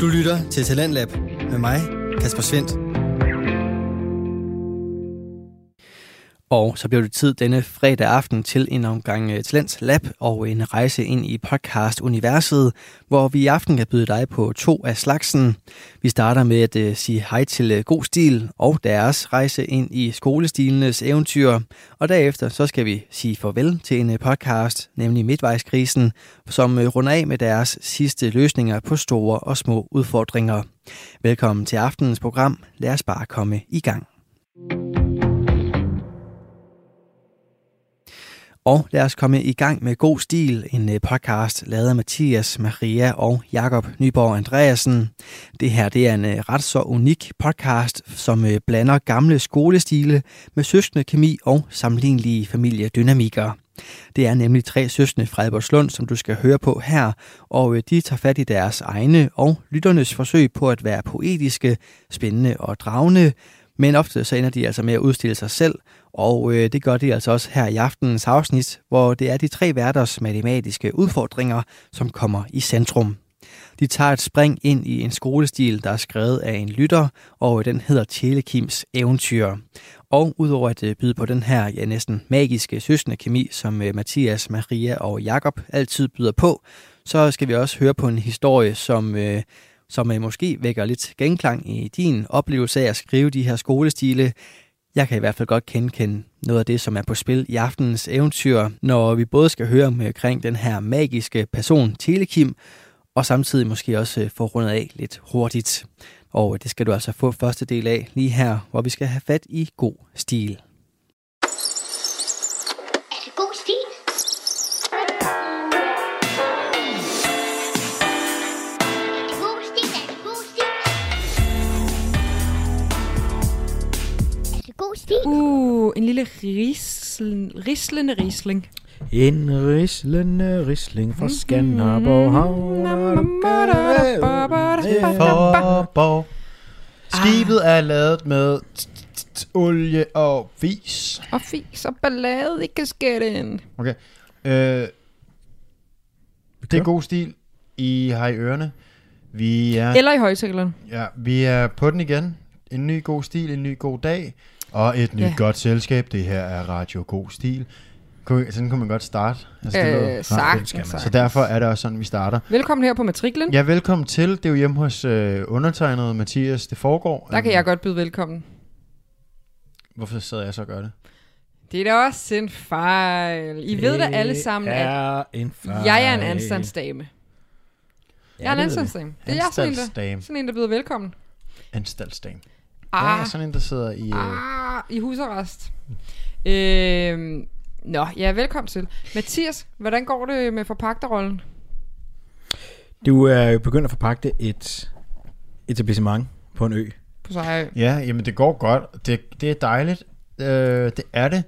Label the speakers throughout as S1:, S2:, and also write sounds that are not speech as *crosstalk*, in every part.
S1: Du lytter til Talentlab med mig, Kasper Svendt. Og så blev det tid denne fredag aften til en omgang øh, Talents Lab og en rejse ind i podcast-universet, hvor vi i aften kan byde dig på to af slagsen. Vi starter med at øh, sige hej til øh, God Stil og deres rejse ind i skolestilenes eventyr. Og derefter så skal vi sige farvel til en øh, podcast, nemlig Midtvejskrisen, som øh, runder af med deres sidste løsninger på store og små udfordringer. Velkommen til aftenens program. Lad os bare komme i gang. Og lad os komme i gang med God Stil, en øh, podcast lavet af Mathias, Maria og Jakob Nyborg Andreasen. Det her det er en øh, ret så unik podcast, som øh, blander gamle skolestile med søskende kemi og sammenlignelige familiedynamikker. Det er nemlig tre søskende fra Albertslund, som du skal høre på her, og øh, de tager fat i deres egne og lytternes forsøg på at være poetiske, spændende og dragende, men ofte så ender de altså med at udstille sig selv, og øh, det gør de altså også her i aftenens afsnit, hvor det er de tre hverdags matematiske udfordringer, som kommer i centrum. De tager et spring ind i en skolestil, der er skrevet af en lytter, og den hedder Telekims Eventyr. Og udover at øh, byde på den her ja, næsten magiske søsende kemi, som øh, Mathias, Maria og Jakob altid byder på, så skal vi også høre på en historie, som øh, som øh, måske vækker lidt genklang i din oplevelse af at skrive de her skolestile. Jeg kan i hvert fald godt genkende noget af det, som er på spil i aftenens eventyr, når vi både skal høre øh, omkring den her magiske person Telekim, og samtidig måske også øh, få rundet af lidt hurtigt. Og det skal du altså få første del af lige her, hvor vi skal have fat i god stil.
S2: Er det god stil? Er det god stil? Er det god stil? Er det god stil?
S3: Uh, en lille rislen, rislende risling.
S4: En rislende risling fra
S3: Mhm.
S4: Skanderborg Havn.
S3: Ah.
S4: Skibet er lavet med t- t- t- olie og fis.
S3: Og fis og ballade i kasketten.
S4: Okay. Øh, det er god stil. I har i ørerne. Vi er,
S3: Eller i højtalerne.
S4: ja, vi er på den igen. En ny god stil, en ny god dag. Og et nyt
S3: Ja.
S4: godt selskab. Det her er Radio God Stil. Kunne- Sådan kunne man godt starte. Altså, det
S3: Øh,
S4: lyder-
S3: sagtens,
S4: Så
S3: sagtens.
S4: derfor er det også sådan, vi starter.
S3: Velkommen her på matriklen.
S4: Ja, velkommen til. Det er jo hjemme hos øh, undertegnet Mathias. Det foregår.
S3: Der kan
S4: Øhm,
S3: jeg godt byde velkommen.
S4: Hvorfor sidder jeg så og gør det?
S3: Det er da også en fejl. I ved da alle sammen, at
S5: er en fejl.
S3: jeg er en anstandsdame. Jeg er en
S5: det ved
S3: anstandsdame. Det er jeg sådan en, der,
S4: Anstaltsdame.
S3: sådan en, der byder velkommen.
S4: Anstaltsdame. Jeg er
S3: Ah,
S4: sådan en, der sidder i... Øh,
S3: ah, i husarrest. Øhm, nå, ja, velkommen til. Mathias, hvordan går det med forpagterrollen?
S5: Du er jo begyndt at forpagte et etablissement på en ø.
S3: På Sejø.
S4: ja, jamen det går godt. Det, det er dejligt. Øh, det er det.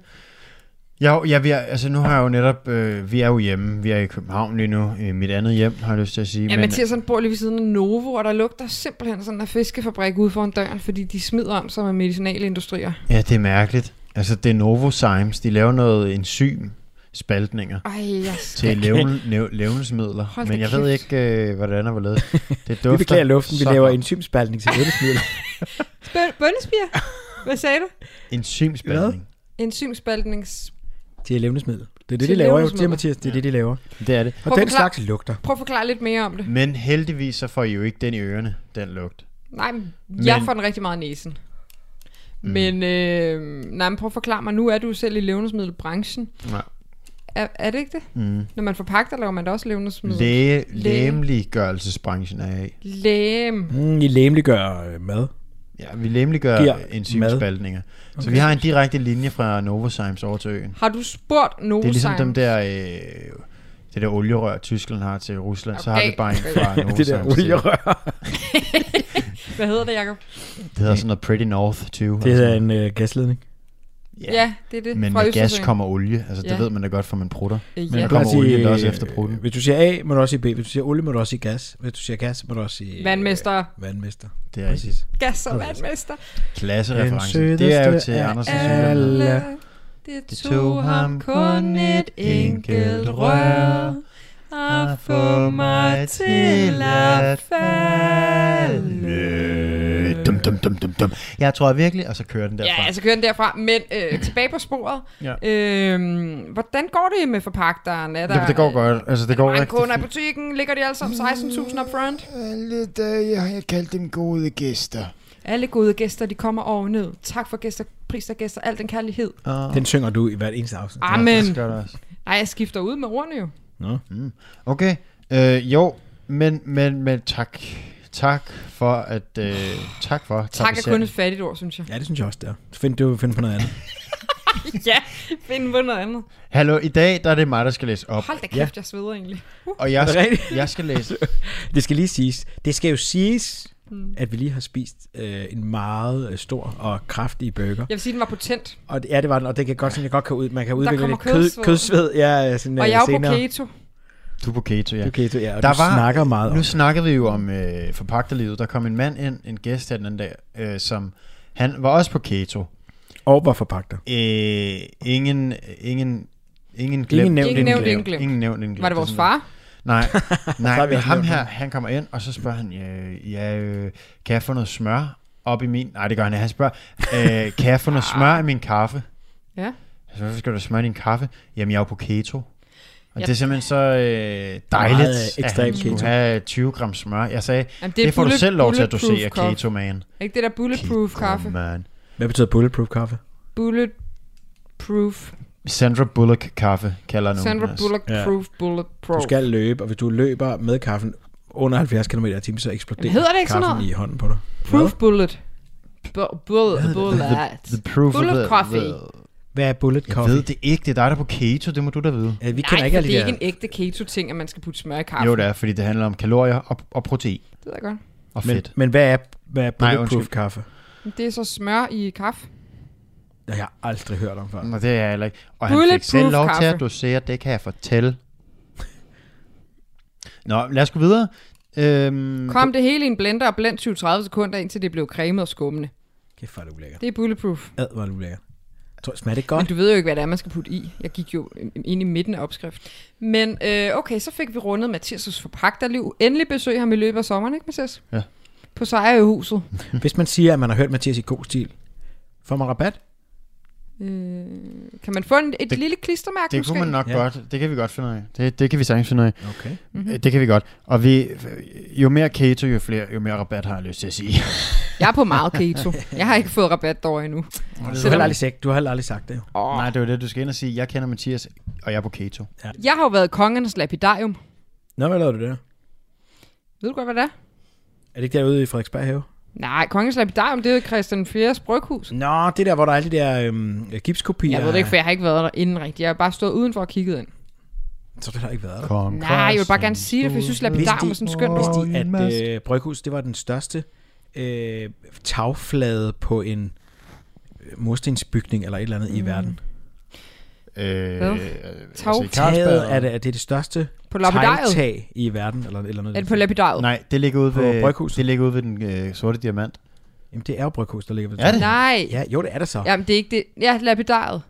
S4: Jeg, jeg, vi er, altså nu har jeg jo netop... Øh, vi er jo hjemme. Vi er i København lige nu. Øh, mit andet hjem, har jeg lyst til at sige.
S3: Ja, Mathias han bor lige ved siden af Novo, og der lugter simpelthen sådan en fiskefabrik ude foran døren, fordi de smider om sig med medicinalindustrier.
S4: ja, det er mærkeligt. Altså, det er Novozymes. De laver noget enzymspaltninger.
S3: Ej, jeg
S4: til
S3: skal...
S4: levn, lev, levnedsmidler.
S3: Hold da
S4: men jeg ved
S3: kæft.
S4: ikke, øh, hvordan og
S3: *laughs*
S4: hvorledes. Det dufter
S5: Vi beklager luften, vi
S4: så
S5: laver
S4: godt.
S5: enzymspaltning til
S4: *laughs*
S5: vedelsmiddel.
S3: Bø- *laughs* Bønnespir? Hvad sagde du?
S4: Enzymspaltning.
S3: Enzymspaltnings...
S5: Til levnedsmiddel. Det er det,
S3: Til
S5: de laver jo,
S3: levnedsmiddel.
S5: siger Mathias. Det er det, de laver.
S4: Det er det.
S5: Og
S3: Prøv at
S5: den
S3: forklare-
S5: slags lugter.
S3: Prøv at forklare lidt mere om det.
S4: Men heldigvis så får I jo ikke den i ørerne, den lugt.
S3: Nej, men jeg
S4: Men- Mm.
S3: får den rigtig meget i næsen. Men, øh, nej, men prøv at forklare mig, nu er du selv i levnedsmiddelbranchen.
S4: Nej.
S3: Er, er det ikke det?
S4: Mm.
S3: Når man forpagter, laver man da også levnedsmiddel.
S4: Læge,
S3: Læge.
S4: lægemliggørelsesbranchen er jeg i.
S3: Læm.
S5: Mm, I læmeliggør øh, mad.
S4: Ja, vi lægemliggør
S5: Giver
S4: enzymspaltninger. Så vi har en direkte linje fra Novozymes over til øen.
S3: Har du spurgt Novo
S4: Det er ligesom dem der, øh, det der olierør, Tyskland har til Rusland. Så har
S3: Okay.
S4: vi bare en
S3: *laughs*
S5: det
S4: fra
S5: der
S4: Novozymes. til-
S5: olierør.
S3: Hvad hedder det, Jacob?
S4: Det hedder sådan noget Pretty North 20.
S5: Det
S4: eller
S5: er en
S4: sådan
S5: øh, gasledning.
S4: noget.
S3: Ja, ja det er det.
S4: Men
S3: Fra
S4: med gas
S3: Østersøen.
S4: kommer olie. Altså, det
S3: Ja.
S4: ved man da godt, for man prutter.
S3: Øh,
S4: Men
S3: ja.
S4: der kommer olien da også efter prutten.
S5: Hvis du siger A, må du også sige B. Hvis du siger olie, må du også sige gas. Hvis du siger gas, må du også sige... øh,
S3: Vandmester.
S5: Vandmester.
S4: Det er
S5: Præcis.
S4: rigtigt.
S3: Gas og vandmester.
S4: Klassereference.
S5: Den
S4: Det er jo
S5: sødeste
S4: til
S5: af
S4: Andersen.
S5: alle.
S3: Alle, det tog ham kun et enkelt rør at få mig til at falde.
S4: Dum, dum, dum, dum, dum. Jeg tror virkelig, og så kører den derfra.
S3: Ja, altså kører den derfra, men øh, tilbage på sporet.
S4: Ja.
S3: Øhm, hvordan går det med forpagteren? Er der,
S4: Jamen, det går godt. Altså, det går
S3: Mange
S4: rigtig
S3: kunder i
S4: fint.
S3: butikken, ligger de alle sammen 16.000 up front.
S6: Alle
S3: øh,
S6: dage har jeg kaldt dem gode gæster.
S3: Alle gode gæster, de kommer over ned. Tak for gæster, pris og gæster, al den kærlighed.
S4: Åh,
S5: Den synger du i hvert eneste afsnit.
S4: ja,
S3: Amen.
S4: det skal der også.
S3: Nej, jeg skifter ud med ordene jo.
S5: Nå.
S4: Okay, øh, jo, men, men, men tak. Tak for at... Øh, tak for.
S3: Tak er
S4: især.
S3: kun et fattigt ord, synes jeg.
S5: Ja, det synes jeg også, der. Så find, du find på noget
S4: *laughs*
S5: andet.
S3: ja, find på noget andet.
S4: Hallo, i dag der er det mig, der skal læse op.
S3: Hold da kæft, jeg sveder egentlig.
S4: Og jeg,
S5: Er det
S4: skal,
S5: rigtigt?
S4: jeg skal
S5: *laughs*
S4: læse...
S5: Det skal lige siges. Det skal jo siges,
S3: Mm.
S5: at vi lige har spist øh, en meget øh, stor og kraftig burger.
S3: Jeg vil sige, den var potent.
S5: Og det, ja, det var den, og det kan godt sådan, jeg godt kan ud, man kan udvikle
S3: kommer
S5: lidt kød,
S3: kødsved.
S5: kødsved. Ja, sådan,
S3: Og
S5: øh,
S3: jeg er jo på
S5: senere.
S3: keto.
S4: Du er på keto, ja.
S5: Okay, du, ja, og
S4: Der
S5: du
S4: var-
S5: snakker meget om
S4: Nu
S5: det.
S4: snakkede vi jo om øh, forpagterlivet. Der kom en mand ind, en gæst her den anden dag, øh, som... Han var også på keto.
S5: Og var forpagter.
S4: Øh, ingen, ingen, ingen glemt.
S5: nævnt,
S3: Ingen nævnt, ingen glemt.
S4: Ingen nævnt, ingen glemt.
S3: Var det
S4: er
S3: vores
S4: sådan
S3: far?
S4: Nej,
S5: Så har
S4: nej
S5: vi
S4: men
S5: også
S4: ham
S5: nævnt
S4: her,
S5: ham.
S4: han kommer ind, og så spørger han, øh, ja, øh, kan jeg få noget smør op i min... Nej, det gør han ikke. Han spørger, øh, kan jeg få noget smør i min kaffe?
S3: Ja.
S4: Altså, hvorfor skal du smøre i din kaffe? Jamen, jeg er jo på keto. Og
S3: Ja.
S4: ja. det er simpelthen så øh, dejligt,
S5: Meget, øh,
S4: Meget, at
S5: ekstrem
S4: han skulle
S5: keto.
S4: have 20 gram smør. Jeg sagde,
S3: Jamen,
S4: det, det får du
S3: bullet-
S4: selv lov til at
S3: bulletproof
S4: dosere,
S3: coffee.
S4: keto man.
S3: Ikke det der bulletproof kaffe.
S4: man.
S5: Hvad betyder bulletproof kaffe?
S3: Bulletproof.
S4: Sandra Bullock kaffe kalder nogen.
S3: Sandra
S4: altså.
S3: Bulletproof Bulletproof.
S5: Du skal løbe, og hvis du løber med kaffen under 70 km i timen, så eksploderer
S3: Jamen, hedder det ikke sådan
S5: kaffen
S3: noget?
S5: i hånden på dig.
S3: Proof bullet. Bu- Bullet. Bullet.
S4: The proof
S3: Bullet
S4: of the,
S3: coffee.
S4: The,
S5: Hvad er bullet
S4: jeg
S5: coffee?
S4: ved det ikke, det er dig, der er på keto, det må du da vide.
S5: Ja, vi kender
S3: Nej,
S5: ikke
S3: for
S5: alle
S3: det
S5: de
S3: er
S5: her-
S3: ikke en ægte keto-ting, at man skal putte smør i kaffe.
S4: Jo, det er, fordi det handler om kalorier og, og protein
S3: Det ved jeg godt.
S4: og
S5: men,
S4: fedt.
S5: men hvad er, hvad er bulletproof
S4: undskyld.
S5: Nej, kaffe?
S3: Men Det er så smør i kaffe.
S4: Mm.
S5: Det har jeg aldrig hørt om før.
S4: Nå, det er jeg heller ikke. Og han fik
S3: Bulletproof
S4: selv lov til
S3: kaffe.
S4: at dosere, det kan jeg fortælle. *laughs* Nå, lad os gå videre. Øhm,
S3: Kom det hele i en blender og blend 20-30 sekunder, indtil det blev cremet og skummende.
S5: Kæft, hvor er det ulækkert.
S3: Det er bulletproof.
S5: Ad, hvor er det ulækkert. Tror, smager det
S3: Men
S5: godt?
S3: du ved jo ikke, hvad det er, man skal putte i. Jeg gik jo øh, ind i midten af opskrift. Men øh, okay, så fik vi rundet Mathias' forpagterliv. Endelig besøg ham i løbet af sommeren, ikke Mathias?
S4: Ja.
S3: På Sejrøhuset.
S5: Hvis man siger, at man har hørt Mathias i god stil, får man rabat?
S3: Øh, Kan man få en, et det,
S4: Det-
S3: lille klistermærke
S4: det
S3: måske?
S4: kunne man nok
S5: Ja.
S4: ja. godt. Det kan vi godt finde ud af. Det, det kan vi sagtens finde ud af.
S5: Okay.
S3: Mhm.
S4: Mm-hmm. Det kan vi godt. Og vi, øh, jo mere keto, jo, flere, jo mere rabat har jeg lyst til at sige.
S3: Jeg er på meget keto. Jeg har ikke fået rabat derovre endnu.
S5: Du har heller aldrig sagt, du har heller aldrig sagt det. jo.
S4: Oh. *laughs* Nej, det er jo det, du skal ind og sige. Jeg kender Mathias, og jeg er på keto.
S3: Jeg har jo været i kongens lapidarium.
S5: Nå, hvad lavede du der?
S3: Ved du godt, hvad det er?
S5: Er det ikke derude i Frederiksberg have?
S3: Nej, kongens lapidarium, det er Christian Fjeres bryghus.
S5: Nå, det der, hvor der er alle de der øhm, gipskopier.
S3: Jeg ved det ikke, for jeg har ikke været der inden rigtigt. Jeg har bare stået udenfor og kigget ind.
S5: Så det har ikke været der.
S4: Kom,
S3: Nej, jeg vil bare gerne sige det, for jeg synes, lapidarium er sådan skønt.
S5: Hvis
S4: Åh,
S5: de,
S4: en mast.
S5: at øh, Bryghus, det var den største øh, tagflade på en øh, murstensbygning eller et eller andet mm. i verden.
S4: Øh,
S3: Hvad?
S4: altså, i
S5: Taget
S4: Carlsberg-
S5: er det, er det det største
S3: På lapidariet?
S5: tegltag i verden. Eller, et eller noget,
S3: Er det på lapidariet?
S4: Nej, det ligger ude
S5: På
S4: ved,
S5: bryghuset.
S4: det ligger ude ved den øh, sorte diamant.
S5: Jamen, det er jo Bryghus, der ligger ved
S4: Er det?
S3: Nej.
S5: Ja, jo, det er det så.
S3: Jamen, det er ikke det. Ja, lapidariet.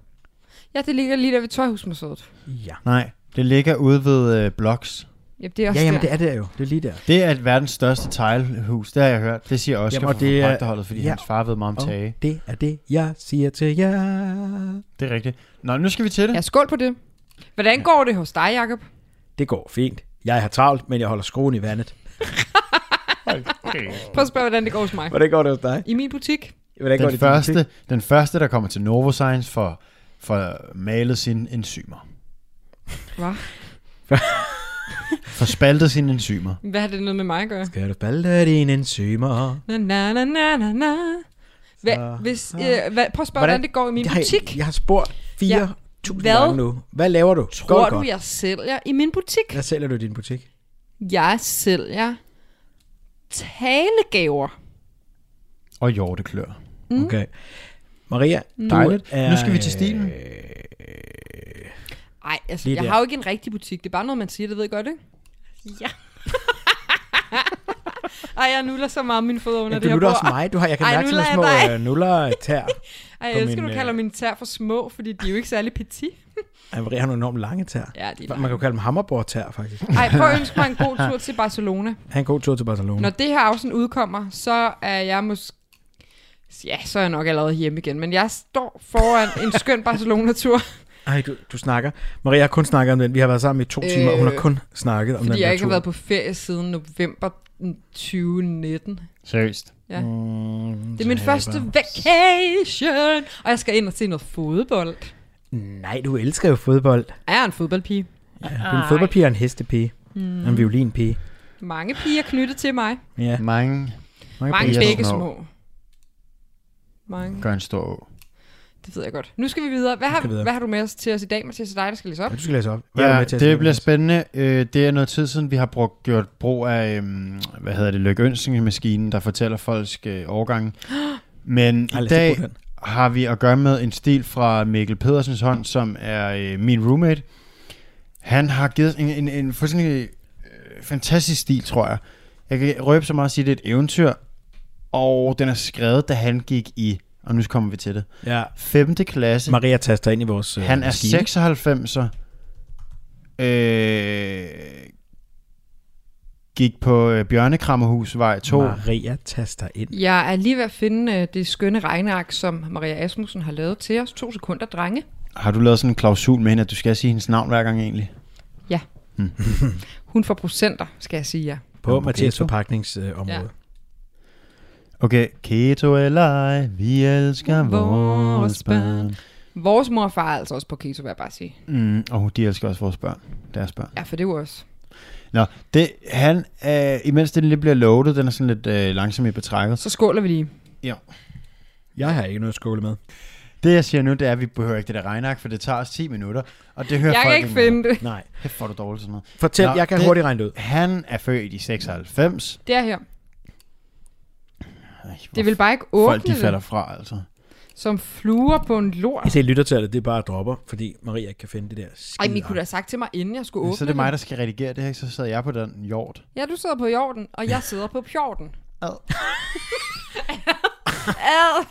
S3: Ja, det ligger lige der ved Tøjhusmuseet.
S5: ja.
S4: Nej, det ligger ude ved øh, Blocks.
S3: Ja, det er også
S5: ja jamen,
S3: der.
S5: det er det jo. Det er lige der.
S4: Det er et verdens største teglhus, det har jeg hørt. Det siger Oscar
S5: Jamen,
S4: Jamen,
S5: og det
S4: det
S5: er-
S4: fra forpagterholdet, fordi
S5: ja.
S4: ja. hans far ved meget om tage.
S5: Og det er det, jeg siger til jer.
S4: Det er rigtigt. Nå, nu skal vi til det.
S3: Ja, skål på det. Hvordan går det hos dig, Jacob?
S5: Det går fint. Jeg har travlt, men jeg holder skruen i vandet.
S3: Prøv at spørge, hvordan det går hos mig.
S5: Hvordan går det hos dig?
S3: I min butik.
S5: Hvordan går
S4: Den,
S5: det
S4: første, den første, der kommer til Novozymes for, for malet sine enzymer.
S3: Hvad?
S4: For spaltet sine enzymer.
S3: Hvad har det noget med mig at gøre?
S5: Skal du balle dine enzymer?
S3: Na, na, na, na, na, na. Hva,
S5: Så-
S3: hvis, øh, hvad, prøv at spørge, hvordan det går i min
S5: jeg, har-
S3: butik.
S5: Jeg har spurgt 4.000 ja.
S3: Hvad
S5: gange nu. Hvad laver du? Går
S3: Tror
S5: det
S3: du,
S5: godt?
S3: jeg sælger i min butik?
S5: Hvad sælger du i din butik?
S3: Jeg sælger talegaver.
S4: Og hjorteklør.
S5: Mm. Okay. Maria,
S3: Mm.
S5: du
S4: Dejligt.
S5: Er, øh,
S4: Nu skal vi til stilen.
S3: Nej, altså,
S5: Lige
S3: jeg
S5: der.
S3: har jo ikke en rigtig butik. Det er bare noget, man siger, det ved jeg godt, ikke? Ja. *laughs* Ej, jeg nuller så meget mine fødder under ja,
S5: Ja, du
S3: det her
S5: lytter også
S3: bord.
S5: mig. Du har, jeg kan
S3: Ej,
S5: mærke
S3: nu
S5: sådan
S3: lader
S5: nogle
S3: jeg
S5: små øh, nuller tær.
S3: Ej,
S5: på
S3: jeg elsker,
S5: min,
S3: du
S5: øh, *laughs*
S3: kalder mine tær for små, fordi de er jo ikke særlig petit.
S5: Ej, Maria har nogle enormt lange tær.
S3: Ja, de er
S5: Man kan jo kalde dem hammerborg-tær, faktisk.
S3: Ej, prøv at ønske mig en god tur til Barcelona.
S5: Han en god tur til Barcelona.
S3: Når det her afsnit udkommer, så er jeg måske... Ja, så er jeg nok allerede hjemme igen, men jeg står foran en
S5: *laughs*
S3: skøn Barcelona-tur,
S5: Ej, du, du snakker. Maria har kun snakket om den. Vi har været sammen i to timer, og hun har kun snakket om den
S3: Øh, fordi
S5: der
S3: jeg ikke
S5: tur.
S3: har været på ferie siden november mm, 2019.
S4: Seriøst.
S3: Ja. Mm, det er min første vacation, og jeg skal ind og se noget fodbold.
S5: Nej, du elsker jo fodbold.
S3: Er jeg en fodboldpige?
S5: Ja, du er en fodboldpige og en hestepige. Mm. Og en violinpige.
S3: Mange piger knyttet til mig.
S5: Ja.
S4: Mm. Mange
S3: Mange
S4: piger
S3: begge
S4: små.
S3: små. Mange.
S4: gør en stor å.
S3: Det ved jeg godt. Nu skal vi videre. Hvad har,
S5: skal videre.
S3: hvad har du med os til os i dag, Mathias? Det er dig, der skal læse op.
S5: Ja, du skal læse op. Hvad er du
S4: Ja,
S5: med til at
S4: det
S5: sige?
S4: bliver spændende. Øh, Det er noget tid siden, vi har brugt, gjort brug af, øhm, hvad hedder det, Løkke Ønsing-maskinen, der fortæller folks øh, årgange. *gasps* Men
S5: Ej,
S4: i
S5: lad os da
S4: dag
S5: bruge den.
S4: har vi at gøre med en stil fra Mikkel Pedersens hånd, som er øh, min roommate. Han har givet os en, en, en fuldstændig øh, fantastisk stil, tror jeg. Jeg kan røbe så meget at sige, at det er et eventyr, og den er skrevet, da han gik i, og nu kommer vi til det,
S5: Ja.
S4: 5. klasse.
S5: Maria taster ind i vores øh,
S4: Han er
S5: maskine.
S4: 96'er. Øh, gik på øh, Bjørnekrammerhusvej 2.
S5: Maria taster ind.
S3: Jeg er lige ved at finde øh, det skønne regneark, som Maria Asmussen har lavet til os. To sekunder, drenge.
S4: Har du lavet sådan en klausul med hende, at du skal sige hendes navn hver gang egentlig?
S3: Ja. Hun får procenter, skal jeg sige jer.
S5: På
S4: Jamen,
S5: Mathias
S4: Ghetto.
S5: forpakningsområde.
S3: Ja.
S5: Øh,
S4: Okay. Keto eller ej, vi elsker vores
S3: Vores
S4: børn.
S3: Vores mor og far er altså også på keto, vil jeg bare sige.
S4: Mm, og de elsker også vores børn. Deres børn.
S3: Ja, for det er jo også.
S4: Nå, det, han, øh, imens den lige bliver loadet, den er sådan lidt øh, langsom i betrækket.
S3: Så skåler vi lige.
S4: Ja.
S5: Jeg har ikke noget at skåle med.
S4: Det jeg siger nu, det er, at vi behøver ikke det der regnak, for det tager os 10 minutter. Og det hører
S3: Jeg
S4: folk
S3: kan ikke finde det.
S5: Nej.
S4: Hæft, hvor er du dårligt sådan noget.
S5: Fortæl,
S4: Nå,
S5: jeg kan
S4: det-
S5: hurtigt regne det ud.
S4: Han er født i 96.
S3: Det er her.
S4: Ej,
S3: Det vil bare ikke
S4: hvor
S3: åbne
S4: folk de falder
S3: det,
S4: fra, altså.
S3: som fluer på en lort.
S5: Jeg ser lyttertallet, det bare dropper, fordi Maria ikke kan finde det der skide.
S3: Ej, men I kunne da have sagt til mig, inden jeg skulle åbne
S4: Åbne så er det mig, der skal redigere det her, ikke? så sidder jeg på den hjort.
S3: Ja, du sidder på jorden, og jeg sidder på pjorden.
S4: Ad.
S5: *laughs*
S3: Ad.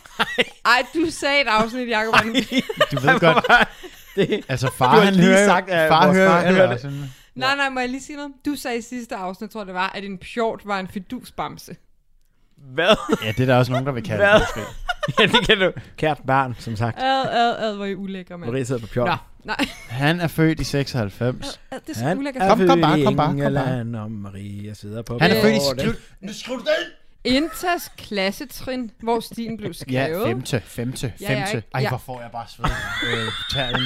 S3: Ej, du sagde et afsnit, Jacob.
S4: Du ved godt,
S5: det.
S4: *laughs* altså
S5: Du
S4: far
S5: har
S4: han
S5: lige
S4: hører jo-
S5: sagt, at
S4: far
S5: vores
S4: hører,
S5: far
S4: far
S5: hører
S4: hører
S5: det.
S4: det. Sådan.
S3: Nej, nej, må jeg lige sige noget? Du sagde i sidste afsnit, tror jeg det var, at en pjort var en fidusbamse.
S5: Hvad?
S4: Ja, det er der også nogen, der vil kalde
S5: Hvad?
S4: det. Måske.
S5: *laughs* ja, det kan du. Kært barn, som sagt.
S3: Ad, ad, ad, hvor I ulækker, mand.
S5: Maria sidder på pjort.
S3: Nå, nej,
S4: Han er født i 96.
S3: ad, det er så
S5: Han
S3: ulækkert.
S5: er
S4: Kom, kom bare,
S5: født i
S4: kom bare, kom
S5: England, og Maria sidder på
S4: Han er født i...
S5: pjorten.
S4: Skriv, nu skriv du den!
S3: Intas klassetrin, hvor stilen
S5: *laughs*
S3: blev
S4: Ja,
S3: skrevet.
S4: femte, femte,
S3: Ja, jeg er
S4: femte.
S3: ikke-
S4: Ej,
S3: ja.
S4: hvor får jeg bare sved øh, på tæren.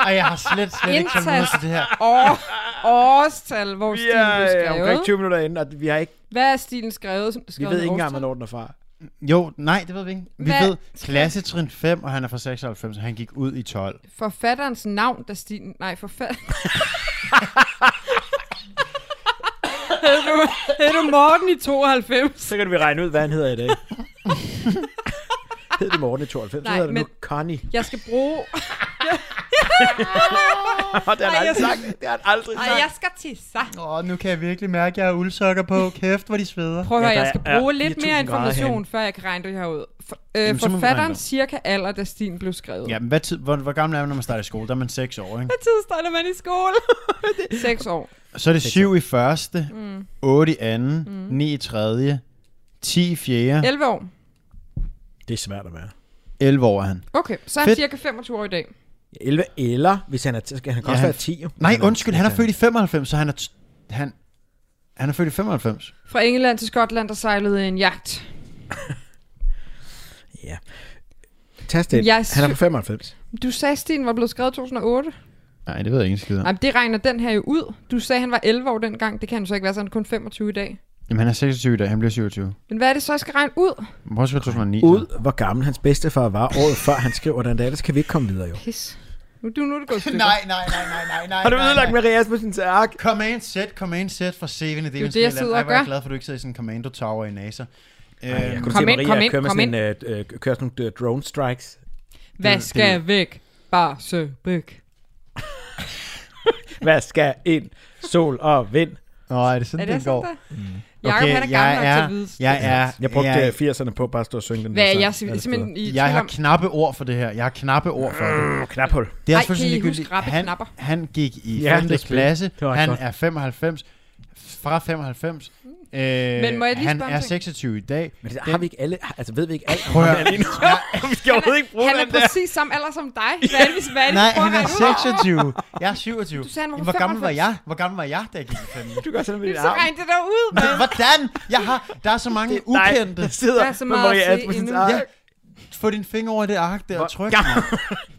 S4: Ej, jeg har slet, slet ikke kommet ud
S3: Indtast.
S4: til det her.
S3: År, årstal, hvor
S5: Vi
S3: stilen blev
S5: er øh, omkring
S3: skrevet.
S5: 20 minutter inde, og vi, har ikke,
S3: Hvad er stilen skrevet? som-
S5: vi
S3: skrevet
S5: ved
S3: med
S5: ikke engang,
S3: årstal?
S5: hvornår den er fra.
S4: Jo, nej, det ved vi ikke. Vi
S3: Hvad?
S4: ved klassetrin 5, og han er fra 96, og han gik ud i 12.
S3: Forfatterens navn, der stilen... Nej, forfatter... *laughs* Hed du, hed du Morten i 92?
S5: Så kan vi regne ud, hvad han hedder i *laughs* dag. Hed det Morten i 92, så
S3: Nej,
S5: hedder det nu
S3: men-
S5: Connie.
S3: Jeg skal bruge...
S5: Og det har han
S3: Ej, jeg
S5: aldrig sagt. Det har han aldrig
S3: Ej,
S5: sagt.
S3: jeg skal tisse.
S4: Åh, oh, nu kan jeg virkelig mærke, at jeg har uldsokker på. Kæft, hvor de sveder.
S3: Prøv at
S5: Ja,
S3: høre,
S5: der
S3: jeg skal
S5: er
S3: bruge lidt
S5: 4.000
S3: mere
S5: grader
S3: information,
S5: herinde.
S3: før jeg kan regne det her ud. For, øh,
S4: Jamen, så må vi regne
S3: forfatteren
S4: det ud.
S3: cirka alder, da stilen blev skrevet.
S4: Ja, men hvad tid, hvor, hvor gammel er man, når man starter i skole? Der er man 6 år, ikke?
S3: Hvad tid starter man i skole? *laughs* 6 år. Mm.
S4: Så er det 7 i første, 8 i anden, 9 i tredje, 10 i fjerde,
S3: 11 år.
S5: Det er svært at være.
S4: 11 år er han.
S3: Okay, så er han
S4: Fedt.
S3: cirka 25 år i dag.
S5: 11 eller, hvis han er, så skal han altså-
S4: Ja,
S5: også
S4: han-
S5: være 10. jo.
S4: Nej, undskyld, han er født i 95, så han er... T- han, han er født i 95.
S3: Fra England til Skotland, der sejlede en jagt.
S5: Ja. Tast ind.
S3: Jeg er
S5: Han er
S3: sy-
S5: på 95.
S3: Du sagde, at stilen var blevet skrevet i 2008.
S4: Nej, det ved jeg ikke en skid om.
S3: Nej, men det regner den her jo ud. Du sagde, han var 11 år dengang. Det kan han så ikke være, så han er kun 25 i dag.
S4: Jamen, han er 26 i dag, han bliver 27.
S3: Men hvad er det så, jeg skal regne ud?
S4: Hvorfor skal 2009 så?
S5: Ud, hvor gammel hans bedstefar var året før han skrev, den der, ellers kan vi ikke komme videre jo.
S3: Pis. Nu, du, nu er det gået i stykker.
S4: Nej, nej, nej, nej, nej, nej.
S5: Har du
S4: nej,
S5: ødelagt
S4: nej.
S5: Maria Asmussens ark?
S4: Command set, command set fra CV'en i
S3: det, jeg
S4: Davids Finland.
S3: sidder
S4: Ej,
S3: og
S4: hvor er
S3: gør.
S4: jeg glad for, at du ikke sidder i sådan en commando tower i NASA. Øhm,
S5: Jeg
S3: Kom
S5: kunne se
S3: ind, kom
S5: Maria
S3: ind,
S5: køre med
S3: kom
S5: sådan en, øh, øh, køre sådan nogle øh, drone strikes.
S3: Hvad skal væk? Bare så væk.
S5: Hvad skal ind? Sol og vind.
S4: Nå, er det sådan,
S3: Er
S4: det,
S3: det
S4: går?
S3: sådan der? Jakob, han er gammel nok til at vide.
S4: jeg er,
S7: Jeg brugte
S4: jeg,
S5: øh,
S7: jeg... 80'erne på bare at stå og synge den
S3: Hvad
S7: der
S3: er
S7: sang.
S3: jeg simpelthen i
S4: altså, jeg
S3: tvivl
S4: har
S3: om?
S4: knappe ord for det her. Jeg har knappe ord for det.
S7: Mm, knaphul.
S4: Det er
S3: Ej,
S4: også fuldstændig
S3: kan I huske
S4: ligegyldigt.
S3: rappe
S4: han,
S3: knapper?
S4: han gik i
S7: Ja,
S4: 5.
S7: det er spil.
S4: klasse.
S5: var
S4: Han
S5: godt.
S4: er 95. Fra 95. Øh,
S3: Men må jeg lige
S4: han
S3: spørge om
S4: er
S3: ting?
S4: 26 i dag.
S5: Men det, har vi ikke alle, altså ved vi ikke alt?
S4: Prøv at høre.
S3: *laughs*
S7: Vi skal overhovedet ikke bruge
S3: Han
S7: den
S3: er
S7: der.
S3: præcis samme alder som dig. Hvad er det, hvis- hvad er det,
S4: Nej,
S3: vi prøver
S4: han
S3: at
S4: er
S3: regne ud?
S4: 26. Jeg er 27.
S3: Du sagde, han var
S4: Jamen, Hvor gammel var
S3: 95.
S4: jeg? Hvor gammel var jeg, da jeg gik i 5.
S7: Du gør sådan med dit
S3: Så
S7: arm.
S3: regn det der ud.
S4: Men hvordan? Jeg har, der er så mange ukendte.
S7: der sidder
S3: Der er så
S7: med
S3: meget at
S7: Maria
S3: se
S7: Asmussens
S3: endnu.
S7: arm.
S4: Ja. Få din finger over det ark der
S7: Hvor
S4: og tryk.
S7: gammel- *laughs*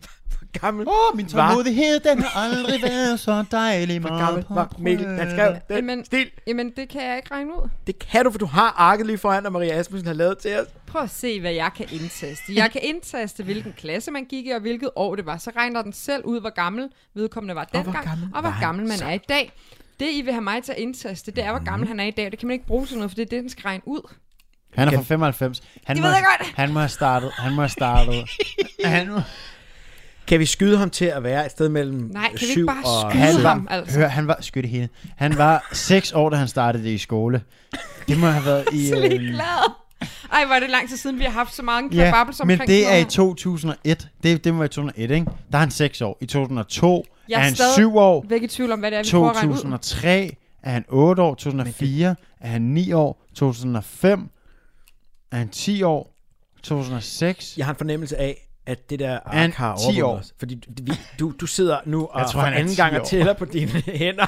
S7: Gammel.
S4: Åh, oh, min tålmodighed, den har aldrig været så dejlig.
S7: Hvor
S4: meget
S7: gammel
S4: på
S7: var Mikkel? Han skrev den
S3: Jamen-
S7: stil.
S3: Jamen, det kan jeg ikke regne ud.
S7: Det kan du, for du har arket lige foran, og Maria Asmussen har lavet til os.
S3: Prøv at se, hvad jeg kan indtaste. Jeg kan indtaste, hvilken klasse man gik i, og hvilket år det var. Så regner den selv ud, hvor gammel vedkommende var dengang, og hvor gammel, og hvor gammel man er i dag. Det, I vil have mig til at indtaste, det er, hvor
S4: Mhm.
S3: gammel han er i dag. Det kan man ikke bruge til noget, for det er det, den skal regne ud.
S4: Han er fra 95. Han
S3: Det
S4: må,
S3: ved jeg godt.
S4: Han må have startet. Han må have
S3: *laughs*
S4: startet. han må,
S5: Kan vi skyde ham til at være et sted mellem
S3: Nej, kan vi
S5: syv
S3: ikke bare
S5: og...
S3: skyde
S4: han
S3: ham?
S4: var,
S3: Altså.
S4: hør, han var, skyt hende. Han var 6 år, da han startede det i skole. Det må have været
S3: *laughs*
S4: i...
S3: Så
S4: øhm,
S3: lige glad. Ej, hvor er det lang tid siden, vi har haft så mange
S4: ja,
S3: kvababels ja,
S4: men
S3: omkring
S4: det er i
S3: sådan noget.
S4: 2001. Det, det må være i 2001, ikke? Der er han 6 år. I 2002
S3: Jeg er
S4: er han
S3: stadig-
S4: 7 år.
S3: Væk i tvivl om, hvad det er, vi prøver at regne ud.
S4: 2003 er han 8 år. 2004 er han 9 år. 2005 er han 10 år. 2006...
S5: Jeg har en fornemmelse af, at det der
S4: Han
S5: ark har
S4: 10
S5: overvundet
S4: år.
S5: os. Fordi du- vi- du, du sidder nu og
S4: Jeg tror,
S5: for
S4: han er
S5: anden
S4: 10
S5: gang
S4: år.
S5: og tæller på dine *laughs* hænder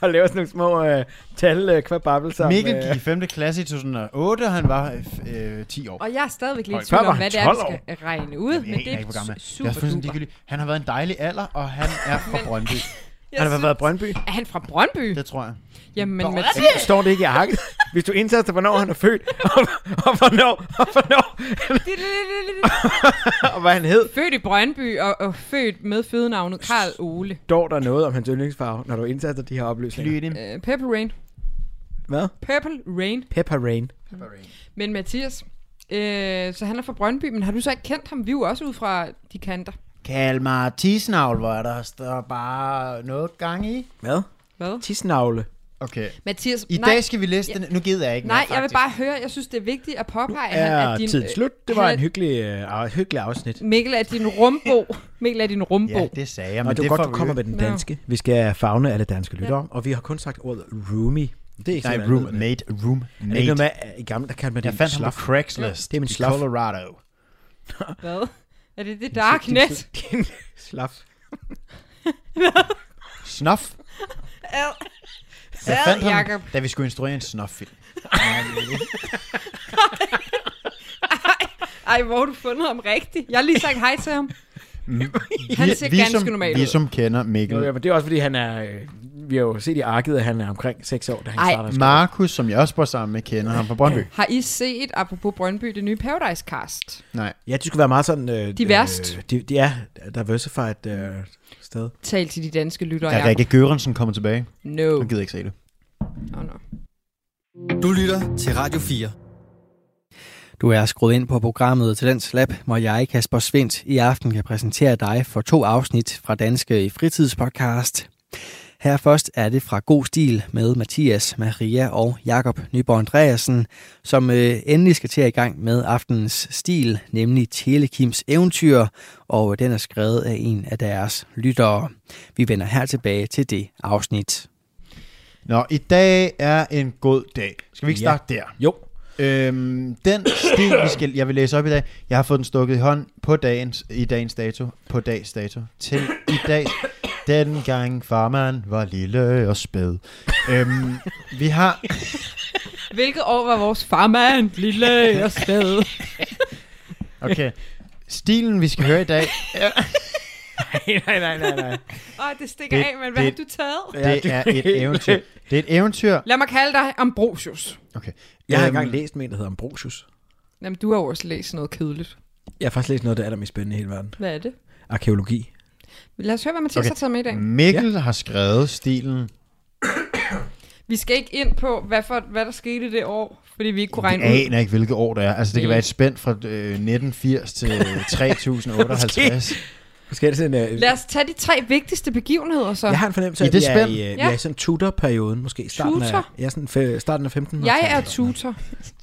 S5: og laver sådan nogle små øh, tal øh, kvababelser.
S4: Mikkel
S5: med-
S4: gik i 5. klasse i 2008, og han var øh, øh, 10 år.
S3: Og jeg er stadigvæk lidt i
S7: Hold, før
S3: tvivl
S7: var
S3: om, hvad
S7: han
S3: det er, vi
S7: 12
S3: skal regne ud.
S4: Jeg
S3: Men det
S4: aner ikke, hvor gammel
S3: er
S4: han er. Det er også
S3: super
S4: fuldstændig
S3: duper.
S4: ligegyldigt. Han har været en dejlig alder, og han er fra
S3: *laughs* Men-
S4: Brøndby.
S7: Han har været i Brøndby.
S3: Er han fra Brøndby?
S4: Det tror *laughs* jeg.
S3: Jamen,
S4: Brøndby!
S3: Mathias,
S5: Står det ikke i arket?
S7: Hvis du indtaster, hvornår han er født, og, og hvornår, og hvornår, og hvad han hed,
S3: Født i Brøndby og, og født med fødenavnet Karl Ole.
S7: står der noget om hans yndlingsfarve, når du indtaster de her oplysninger.
S4: Lyt ind.
S3: Uh, Purple Rain.
S7: Hvad?
S3: Purple Rain.
S7: Pepper Rain.
S3: Men Mathias, øh, så han er fra Brøndby, men har du så ikke kendt ham? Vi er jo også ude fra de kanter.
S4: Kald mig tisnavl, hvor der står bare noget gang i.
S7: Hvad?
S3: Hvad?
S7: Tisnavle.
S4: Okay.
S3: Mathias,
S4: I
S3: nej,
S4: dag skal vi læse den. Nu gider jeg ikke
S3: nej,
S4: mere,
S3: jeg vil
S4: faktisk.
S3: bare høre, jeg synes, det er vigtigt at påpege, at, han,
S5: Ja,
S3: at din,
S5: tiden
S3: øh,
S5: slut. Det var
S3: han-
S5: en hyggelig, øh, af- hyggelig afsnit.
S3: Mikkel er din rumbo. *laughs* Mikkel er din rumbo.
S4: Ja, det sagde jeg,
S5: Og
S4: men
S5: det
S4: det
S5: var godt,
S4: får
S5: du
S4: vi
S5: kommer
S4: jo-
S5: med den
S3: Ja.
S5: danske. Vi skal fagne alle danske lyttere, og vi har kun sagt ordet roomie. Det er ikke
S4: Nej,
S5: sådan, jeg ved det.
S4: roommate,
S5: Er det ikke
S4: roommate.
S5: noget med, at i gamle, der kaldte man det
S4: Jeg
S5: en
S4: fandt ham på
S5: slaf?
S4: Craigslist
S5: Det er min
S4: i
S5: slaf.
S4: Colorado.
S3: Hvad? Er det det darknet?
S7: *laughs* Din slaf.
S4: Snuff. Jeg fandt ham,
S3: Jakob.
S4: da vi skulle instruere en snuff-film.
S3: Ej, hvor har du fundet ham rigtigt? Jeg har lige sagt hej til ham. *laughs* Han ser
S4: vi,
S3: ganske
S4: som,
S3: normal
S4: vi
S3: ud.
S4: som kender Mikkel.
S7: Nå, ja, men det er også fordi, han er... øh, Vi har jo set i arket, at han er omkring 6 år, da han
S3: Ej,
S7: starter. i skole.
S4: Markus, som jeg også bor sammen med, kender ham fra Brøndby.
S3: Har I set, apropos Brøndby, det nye Paradise Cast?
S4: Nej.
S5: Ja, de skulle være meget sådan... Øh,
S3: Diverst.
S5: Øh, de, de er diversified øh, sted.
S3: Tal til de danske lyttere.
S4: Da
S3: Jacob.
S4: Rikke Gørensen kommer tilbage,
S3: No.
S4: han gider ikke se det.
S3: Oh, no.
S1: Du lytter til Radio 4. Du er skruet ind på programmet til den slap, hvor jeg, Kasper Svendt, i aften kan præsentere dig for to afsnit fra Danske Fritidspodcast. Her først er det fra God Stil med Mathias, Maria og Jakob Nyborg Andreasen, som øh, endelig skal til at i gang med aftenens stil, nemlig Telekims eventyr, og den er skrevet af en af deres lyttere. Vi vender her tilbage til det afsnit.
S4: Nå, i dag er en god dag. Skal vi ikke
S5: Ja.
S4: starte der?
S5: Jo.
S4: Øhm, den stil, vi skal, jeg vil læse op i dag, jeg har fået den stukket i hånd på dagens, i dagens dato, på dags dato, til i dag, den gang farmand var lille og spæd. øhm, vi har,
S3: Hvilket år var vores farmand lille og
S5: *laughs*
S3: spæd?
S4: okay, stilen, vi skal høre i
S5: *laughs*
S4: dag,
S7: nej, nej, nej, nej.
S3: Åh, oh, det stikker
S4: Det-
S3: det, af, men hvad
S4: det-
S3: det, har du taget?
S4: det er et eventyr. Det er et eventyr.
S3: Lad mig kalde dig Ambrosius.
S4: Okay.
S5: Jeg har
S4: Øhm,
S5: engang læst med en, der hedder Ambrosius.
S3: Jamen, du har jo også læst noget kedeligt.
S5: Jeg har faktisk læst noget af det allermest spændende i hele verden.
S3: Hvad er det?
S5: Arkeologi.
S3: Lad os høre, hvad Mathias okay.
S4: Okay. Mm.
S3: har taget med i dag.
S4: Mikkel ja. har skrevet stilen.
S3: Vi skal ikke ind på, hvad, for, hvad der skete det år, fordi vi ikke kunne
S4: Jeg
S3: regne ud.
S4: aner ikke, hvilket år det er. Altså, det kan
S3: Nej.
S5: *laughs*
S4: være et spænd fra øh, 1980 til 3058.
S5: Vi skal altid en, øh,
S3: Lad os tage de tre vigtigste begivenheder så.
S5: jeg har en fornemmelse
S4: I
S5: af, at vi
S4: det
S5: er,
S4: spænd?
S5: i, øh, vi
S3: Ja.
S5: er i sådan Tudor-perioden, måske. Starten af,
S3: Tudor?
S5: ja, sådan fe- starten af 1500
S3: Jeg er tutor.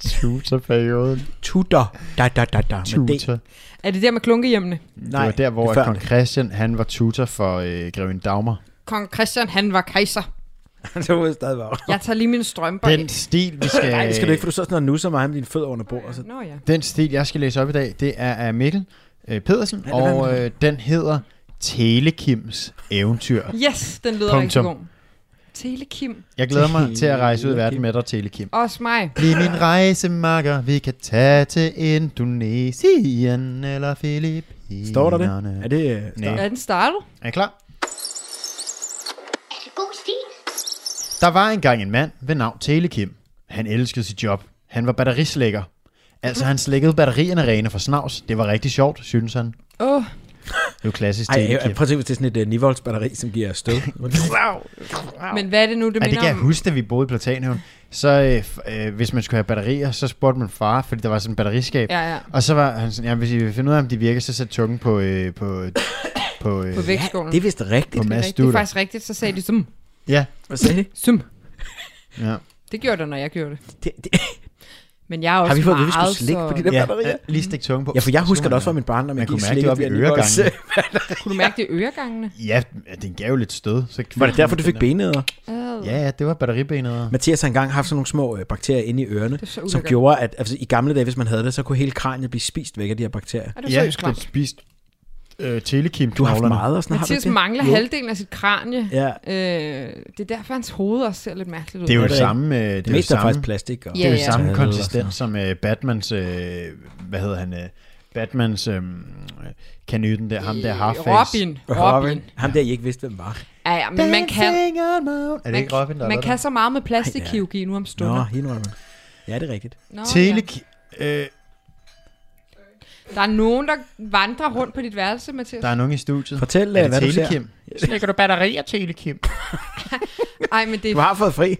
S4: Tutorperioden.
S5: Tudor. Da, da, da, da. Med D.
S4: Tutor.
S3: Er det der med klunkehjemmene?
S4: Nej, det var der, hvor
S5: er før
S4: at kong
S5: det.
S4: Christian, han var tutor for øh, Greven Dagmar.
S3: Kong Christian, han var kejser.
S5: Så var *laughs* det stadig var.
S3: Jeg tager lige mine strømper
S4: Den
S3: af.
S4: stil, vi
S5: *laughs*
S4: skal...
S5: Nej, det skal du ikke, for du så sådan noget nusser mig med dine fødder under bordet. Så.
S3: Nå ja.
S4: Den stil, jeg skal læse op i dag, det er af Mikkel øh, Pedersen,
S5: Ja, det var
S4: og øh, den hedder Telekims Eventyr.
S3: Yes, den lyder
S4: Punktum.
S3: rigtig god. Telekim.
S4: Jeg glæder mig til at rejse ud i verden med dig, Telekim.
S3: Også mig.
S4: Bliv min rejsemakker, vi kan tage til Indonesien eller Filippinerne.
S5: Står der det? Er det... øh, start?
S3: Er den startet?
S4: Er I klar?
S2: Er det god stil?
S4: Der var engang en mand ved navn Telekim. Han elskede sit job. Han var batterislækker. Altså, han slækkede batterierne rene for snavs. Det var rigtig sjovt, synes han. Det
S3: Åh, oh,
S4: er jo klassisk
S5: Ej, jeg,
S4: Telekim.
S5: jeg, prøv at tænke, hvis det er sådan et uh, 9 volts batteri, som giver stød. *laughs*
S3: men hvad er det nu, det
S4: Ja, det
S3: minder
S4: kan jeg
S3: om?
S4: huske, da vi boede i Platanhaven. Så øh, f- øh, hvis man skulle have batterier, så spurgte man far, fordi der var sådan en batteriskab.
S3: Ja, ja.
S4: Og så var han sådan, ja, hvis I vil finde ud af, om de virker, så sæt tungen på, øh, på, på, øh,
S3: På vægtskålen.
S5: det er vist rigtigt.
S4: på Mads
S3: Rigtigt, det er
S4: Studer.
S3: faktisk rigtigt, så sagde de sum.
S4: Ja,
S5: Hvad sagde det?
S3: Sum.
S4: ja.
S3: Det gjorde det, når jeg gjorde det.
S5: det, det
S3: Men jeg er også
S5: har vi fået at vide, vi
S3: meget,
S5: skulle slikke på de der
S4: ja,
S5: batterier?
S4: ja, lige stik tungen på.
S5: Ja, for jeg husker det også fra
S4: man,
S5: min barndom,
S4: man
S5: jeg
S4: kunne
S5: gik
S4: mærke, det
S5: slikket ved
S4: var ved
S5: at 9 volts.
S4: øregangene.
S3: Kunne du mærke det i øregangene?
S4: Ja, den gav jo lidt stød. Så
S5: *laughs* Var det derfor, du fik benæder?
S3: Ad.
S4: Ja, ja, det var batteribenet.
S5: Mathias har engang haft sådan nogle små øh, bakterier inde i ørerne,
S3: er så
S5: som
S3: ulækkert.
S5: gjorde, at altså, i gamle dage, hvis man havde det, så kunne hele kraniet blive spist væk af de her bakterier.
S3: Er du
S4: Ja,
S3: seriøst
S4: den
S3: klar?
S4: spiste øh, telekim
S5: Du har haft meget og sådan har du
S3: Mathias
S5: ikke det?
S3: mangler
S5: Jo.
S3: halvdelen af sit kranie.
S5: Ja,
S3: Øh, det er derfor, hans hoved også ser lidt mærkeligt ud.
S4: Det er jo
S5: det
S4: det
S5: er
S4: samme, øh, det,
S5: det
S4: er jo
S5: meste er
S4: samme,
S5: faktisk plastik. Og
S3: Ja,
S4: det er jo
S3: ja.
S4: samme
S5: Tade og
S4: konsistens som øh, Batmans, øh, hvad hedder han, øh, Batmans øh, kanyten der, ham der half
S3: Øh, Robin. Robin.
S5: Ham der, I ikke vidste, hvem var.
S3: Ja, ja, men man kan,
S4: Er det
S3: man,
S4: ikke Robin, der
S3: man kan så meget med
S5: Ej,
S3: plastikkirurgi nu om
S5: Nå,
S3: stunder.
S5: indrømmer. Ja, det er rigtigt.
S3: Nå, ja.
S4: Telek... Øh,
S3: Der er nogen, der vandrer rundt på dit værelse, Mathias.
S4: der er nogen i studiet.
S5: Fortæl,
S4: er
S5: øh, hvad du ser.
S4: Telekim? Slækker du batterier, Telekim?
S3: Ej, men det
S5: Du har fået fri.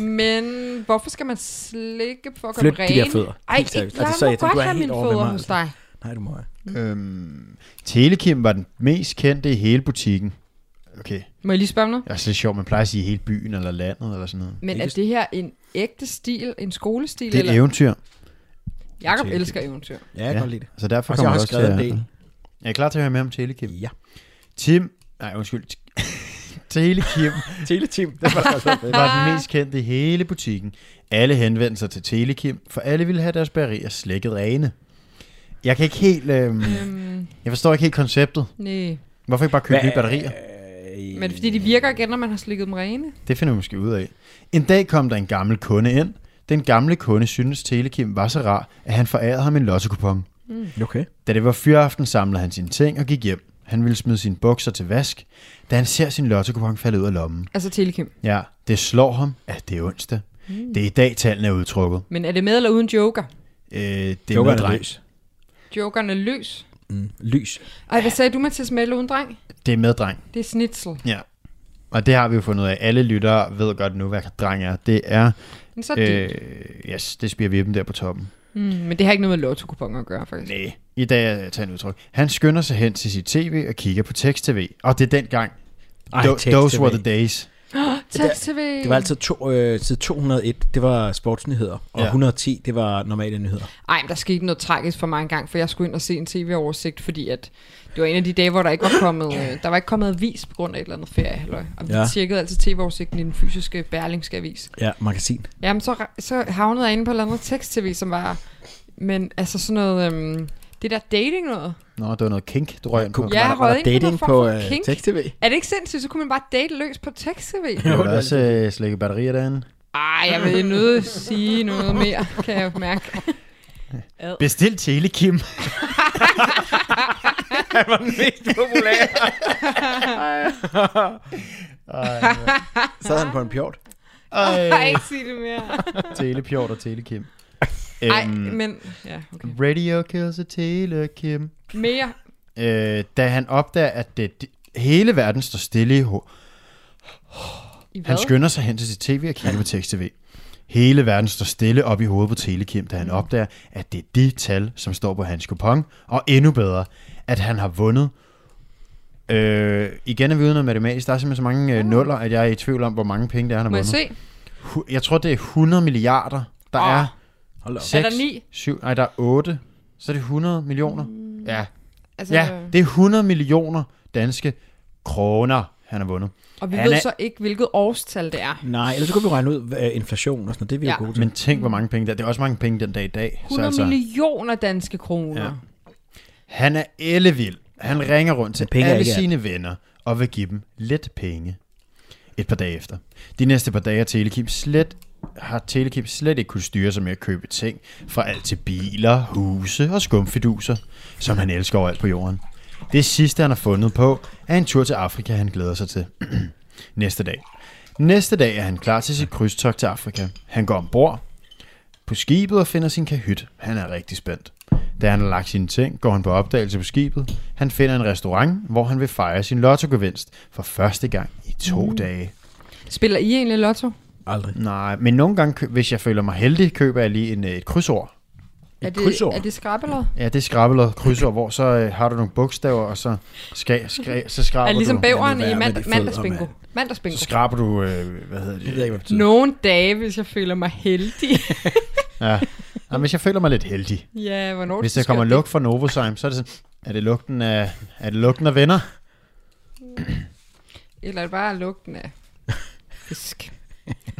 S3: Men hvorfor skal man slikke for at
S5: Flyt
S3: gøre
S5: de
S3: rene?
S5: der fødder.
S3: Ej,
S5: Helt
S3: ikke, jeg,
S5: seriøst. Og det
S3: må
S5: sagde jeg til dig. Du
S3: godt
S5: er
S3: have
S5: helt
S3: mine
S5: over ved
S3: fødder
S5: mig,
S3: hos
S5: altså.
S3: dig.
S5: Nej, du må ikke.
S4: øhm, Telekim var den mest kendte i hele butikken. Okay,
S3: Må jeg lige spørge om noget?
S4: det er også lidt sjovt, man plejer at sige hele byen eller landet eller sådan noget.
S3: Men er det her en ægte stil, en skolestil?
S4: Det er et
S3: eller?
S4: eventyr,
S3: Jakob elsker eventyr.
S5: Ja, jeg kan
S4: Ja.
S5: godt lide det.
S4: så derfor
S5: Og så
S4: kommer
S5: har
S4: jeg
S5: jeg
S4: også til
S5: skrevet
S4: at...
S5: en del.
S4: Er I klar til at høre mere om Telekim?
S5: Ja.
S4: Tim... Nej, undskyld. *laughs* Telekim
S5: Teleteam, det var altså fedt.
S4: var den mest kendte i hele butikken. Alle henvendte sig til Telekim, for alle ville have deres batterier slækket rene. Jeg kan ikke helt... Øhm,
S3: Øhm,
S4: jeg forstår ikke helt konceptet.
S3: nej.
S4: Hvorfor ikke bare købe
S5: Hva-
S4: nye batterier?
S5: øh,
S3: Men fordi de virker igen, når man har slikket dem rene.
S4: Det finder vi måske ud af. En dag kom der en gammel kunde ind. Den gamle kunde syntes, Telekim var så rar, at han forærede ham en lottekupon.
S5: Okay.
S4: Da det var fyraften, samlede han sine ting og gik hjem. Han ville smide sine bukser til vask, da han ser sin lottekupon falde ud af lommen.
S3: Altså telekim.
S4: Ja, det slår ham, at det er onsdag. Mm. Det er i dag, tallene er udtrukket.
S3: Men er det med eller uden joker?
S4: Øh, det er
S5: Joker
S4: med
S5: er
S4: dreng.
S5: løs.
S3: Jokeren er løs.
S5: Mm, lys.
S3: Ej, hvad sagde du, Mathias, med eller uden dreng?
S4: Det er med dreng.
S3: Det er snitsel.
S4: Ja. Og det har vi jo fundet ud af. Alle lyttere ved godt nu, hvad dreng er. Det er...
S3: Men så er det.
S4: Øh, yes, det spiger vi dem der på toppen.
S3: Mm, men det har ikke noget med lotto at gøre, faktisk.
S4: Nej, i dag er tager en udtryk. Han skynder sig hen til sit tv og kigger på tekst-tv. Og det er dengang.
S5: Ej,
S4: Tho-
S5: tekst-tv.
S4: those were the days.
S3: Tekst-tv.
S5: Det var altid to, øh, side 201, det var sportsnyheder, og
S4: Ja.
S5: ja. 110, det var normale nyheder.
S3: Ej, men der skete noget tragisk for mig engang, for jeg skulle ind og se en tv-oversigt, fordi at det var en af de dage, hvor der ikke var kommet, øh, der var ikke kommet avis på grund af et eller andet ferie. Halløj. Og vi
S5: Ja.
S3: ja. tjekkede altid tv-oversigten i den fysiske berlingske avis.
S5: Ja, magasin.
S3: Jamen, så, ra- så havnede jeg inde på et eller andet tekst-tv, som var... Men altså sådan noget... Øhm, det der dating noget.
S4: Nå, det var noget kink, du røg ind på.
S5: Kunne-
S3: Ja,
S5: var der, var
S3: røget
S5: der
S3: ind på
S5: dating
S3: noget form
S5: på
S3: for
S5: øh,
S3: kink?
S5: tekst-tv?
S3: Er det ikke sindssygt, så kunne man bare date løs på tekst-tv?
S4: Jeg vil også øh, slække batterier derinde.
S3: Ej, jeg vil nødt at sige noget mere, kan jeg mærke.
S4: Bestil Telekim.
S5: Han var den mest populære. Sad han på en pjort?
S4: Ej,
S3: Ej, ikke sige det mere.
S4: Telepjort og Telekim.
S3: Ej,
S4: Øhm,
S3: men... Ja, okay.
S4: Radio kills a Telekim.
S3: Mere.
S4: øh, da han opdager, at det, det, hele verden står stille i ho.
S3: I hvad?
S4: Han skynder sig hen til sit tv og kigger på tekst-tv. Hele verden står stille op i hovedet på Telekim, da han opdager, at det er de tal, som står på hans kupon, og endnu bedre, at han har vundet Øh, igen er vi ude noget matematisk. Der er simpelthen så mange øh, nuller, at jeg er i tvivl om, hvor mange penge det er, han har
S3: Mm. Må jeg
S4: vundet.
S3: se?
S4: Hu- Jeg tror, det er 100 milliarder. Der
S3: Åh.
S4: er
S5: Hold da op.
S3: Er
S4: 6,
S3: der ni?
S4: 7, nej, der er 8. Så er det 100 millioner. Ja.
S3: Altså,
S4: ja, det er 100 millioner danske kroner, han har vundet.
S3: og vi
S4: han
S3: ved
S4: er-
S3: så ikke, hvilket årstal det er.
S5: Nej, ellers så kunne vi regne ud hvad, øh, inflation og sådan noget. Det er vi ja.
S3: Ja.
S5: gode til.
S4: Men tænk, hvor mange penge der. Det er også mange penge den dag i dag.
S3: 100 altså, millioner danske kroner.
S4: Ja. Han er ellevild. Han ringer rundt til
S5: Men penge er
S4: alle
S5: ikke alt.
S4: sine venner og vil give dem lidt penge et par dage efter. De næste par dage har Telekim slet, har Telekim slet ikke kunne styre sig med at købe ting fra alt til biler, huse og skumfiduser, som han elsker overalt på jorden. Det sidste, han har fundet på, er en tur til Afrika, han glæder sig til. *clears throat* næste dag. Næste dag er han klar til sit krydstogt til Afrika. Han går ombord på skibet og finder sin kahyt. Han er rigtig spændt. Da han har lagt sine ting, går han på opdagelse på skibet. Han finder en restaurant, hvor han vil fejre sin lottogevinst for første gang i to mm. dage.
S3: Spiller I egentlig lotto?
S5: Aldrig.
S4: Nej, men nogle gange, kø- hvis jeg føler mig heldig, køber jeg lige en, øh, et krydsord.
S3: Er det,
S5: krydsord?
S3: er det skrabbelod?
S4: Ja, det er skrabbelot krydsord, hvor så øh, har du nogle bogstaver, og så, skra, skra, så
S3: Er
S4: skraber
S3: det ligesom
S4: du...
S3: bæveren
S5: lad nu
S3: i
S5: være med
S3: mand-
S5: de
S3: mandagsbingo?
S5: fødder,
S3: Mandagsbingo.
S4: Så skraber du, øh, hvad hedder
S5: Jeg ved
S4: det?
S5: ikke, hvad det betyder.
S3: Nogle dage, hvis jeg føler mig
S4: *laughs*
S3: heldig.
S4: Ja. Jamen, hvis jeg føler mig lidt heldig.
S3: ja, hvornår
S4: Hvis
S3: det
S4: der kommer
S3: sker,
S4: lugt fra Novozyme, så er det sådan, er det lugten af, er det lugten af venner?
S3: det- Eller er det bare lugten
S4: *laughs*
S3: af fisk?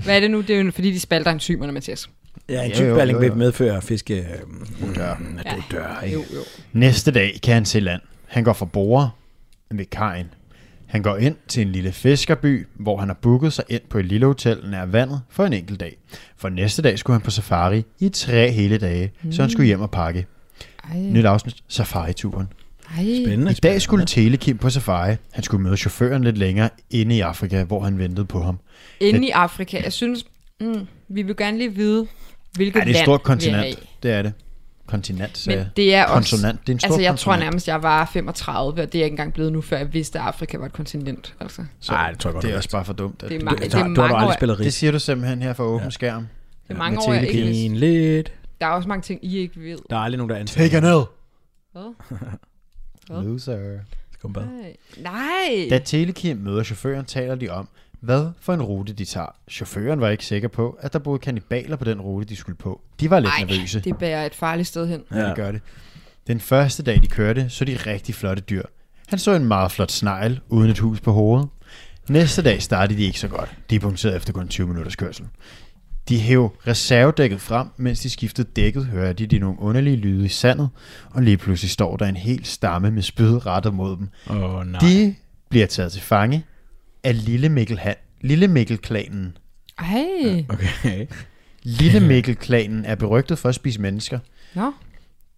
S3: Hvad er det nu? Det er jo fordi, de spalter enzymerne, Mathias.
S5: Ja, en
S4: Jo, jo,
S5: typeballing
S4: jo,
S5: vil
S4: jo.
S5: medføre fiske... Øh, dør. Ja. dør,
S3: Jo,
S5: ikke?
S3: jo.
S4: Næste dag kan han til land. Han går fra borger ved kajen. Han går ind til en lille fiskerby, hvor han har booket sig ind på et lille hotel nær vandet for en enkelt dag. For næste dag skulle han på safari i tre hele dage, mm. så han skulle hjem og pakke.
S3: Mm. Ej,
S4: Nyt afsnit, safari-turen.
S3: Mm. ej.
S5: Spændende.
S4: I dag skulle Telekim på safari. Han skulle møde chaufføren lidt længere inde i Afrika, hvor han ventede på ham.
S3: Inde i Afrika. Jeg synes, mm, vi vil gerne lige vide, hvilket
S4: Ja, det er et
S3: land
S4: stort
S3: vi er
S4: kontinent. Altså,
S3: i.
S4: Det er det. Kontinent, sagde
S3: Men
S4: jeg.
S3: det er også...
S4: Konsonant. Det er en stor
S3: Altså, jeg tror
S4: konsonant.
S3: nærmest, jeg var 35, og det er jeg ikke engang blevet nu, før jeg vidste, at Afrika var et kontinent. Altså, det
S4: Så
S5: Ej, det tror jeg godt,
S4: Det
S5: du
S4: er
S5: ved.
S4: også bare for dumt. At
S3: er,
S4: du,
S3: ma- det
S5: Så
S3: er
S5: du har da
S3: mange år,
S5: aldrig spillet
S4: det
S5: ris.
S4: siger du simpelthen her for åben skærm.
S3: det er mange
S4: med
S3: år jeg ikke vidste.
S5: Pinligt.
S3: Der er også mange ting, I ikke ved.
S5: Der er aldrig nogen, der er ansat.
S4: Take a nil.
S3: Hvad?
S4: Loser.
S5: Skumbad.
S3: Nej. Nej.
S4: Da Telekim møder chaufføren, taler de om, hvad for en rute de tager. Chaufføren var ikke sikker på, at der boede kannibaler på den rute, de skulle på. De var lidt
S3: Ej,
S4: nervøse.
S3: det bærer et farligt sted hen.
S4: ja. det gør det. Den første dag, de kørte, så de rigtig flotte dyr. Han så en meget flot snegl, uden et hus på hovedet. Næste dag startede de ikke så godt. De punkterede efter kun 20 minutters kørsel. De hæv reservedækket frem, mens de skiftede dækket, hører de de nogle underlige lyde i sandet, og lige pludselig står der en hel stamme med spyd rettet mod dem.
S5: Åh, oh, nej.
S4: De bliver taget til fange af Lille Mikkel, Han, Lille Mikkel-klanen.
S3: Ej.
S5: Okay.
S4: Lille
S5: *laughs*
S4: Mikkel-klanen er berygtet for at spise mennesker.
S3: Nå.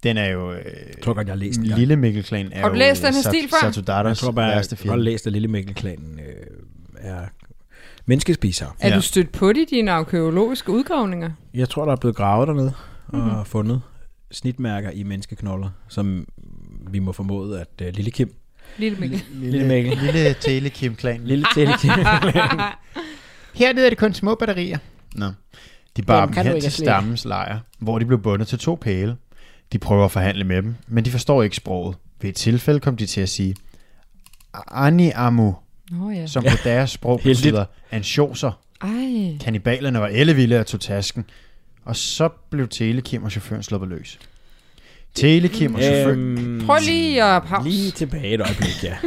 S4: Den er jo...
S5: Jeg
S4: Øh,
S5: tror godt, jeg har læst den.
S4: Lille Mikkel-klanen er
S3: Har du
S4: jo,
S3: læst
S4: øh,
S3: den her
S4: Sat-
S3: stil før?
S4: Satudatas
S5: Jeg tror bare, jeg har
S4: værste
S5: godt
S4: fjende.
S5: læst, at Lille Mikkel-klanen øh, er menneskespisere.
S3: Er
S4: Ja.
S3: du stødt på det i dine arkeologiske udgravninger?
S5: Jeg tror, der er blevet gravet dernede og mm-hmm. fundet snitmærker i menneskeknogler, som vi må formode, at uh, Lille Kim,
S3: Lille Mikkel.
S5: Lille Mikkel.
S4: Lille Telekim-klanen.
S5: Lille
S3: *laughs*
S5: Telekim,
S4: Hernede er det kun små batterier. Nå. De bar
S7: Dem
S4: dem
S7: kan du
S4: hen
S7: ikke
S4: til
S7: slæbe.
S4: stammens lejr, hvor de blev bundet til to pæle. De prøver at forhandle med dem, men de forstår ikke sproget. Ved et tilfælde kom de til at sige, Ani Amu,
S3: Nå ja.
S4: som på deres sprog
S5: Heldigt.
S4: betyder ansjoser.
S3: Ej.
S4: Kannibalerne var ellevilde og tog tasken. Og så blev Telekim og chaufføren sluppet løs. Telekim og chaufføren...
S5: øhm,
S3: Prøv lige at pause.
S5: lige tilbage et øjeblik, ja. *laughs*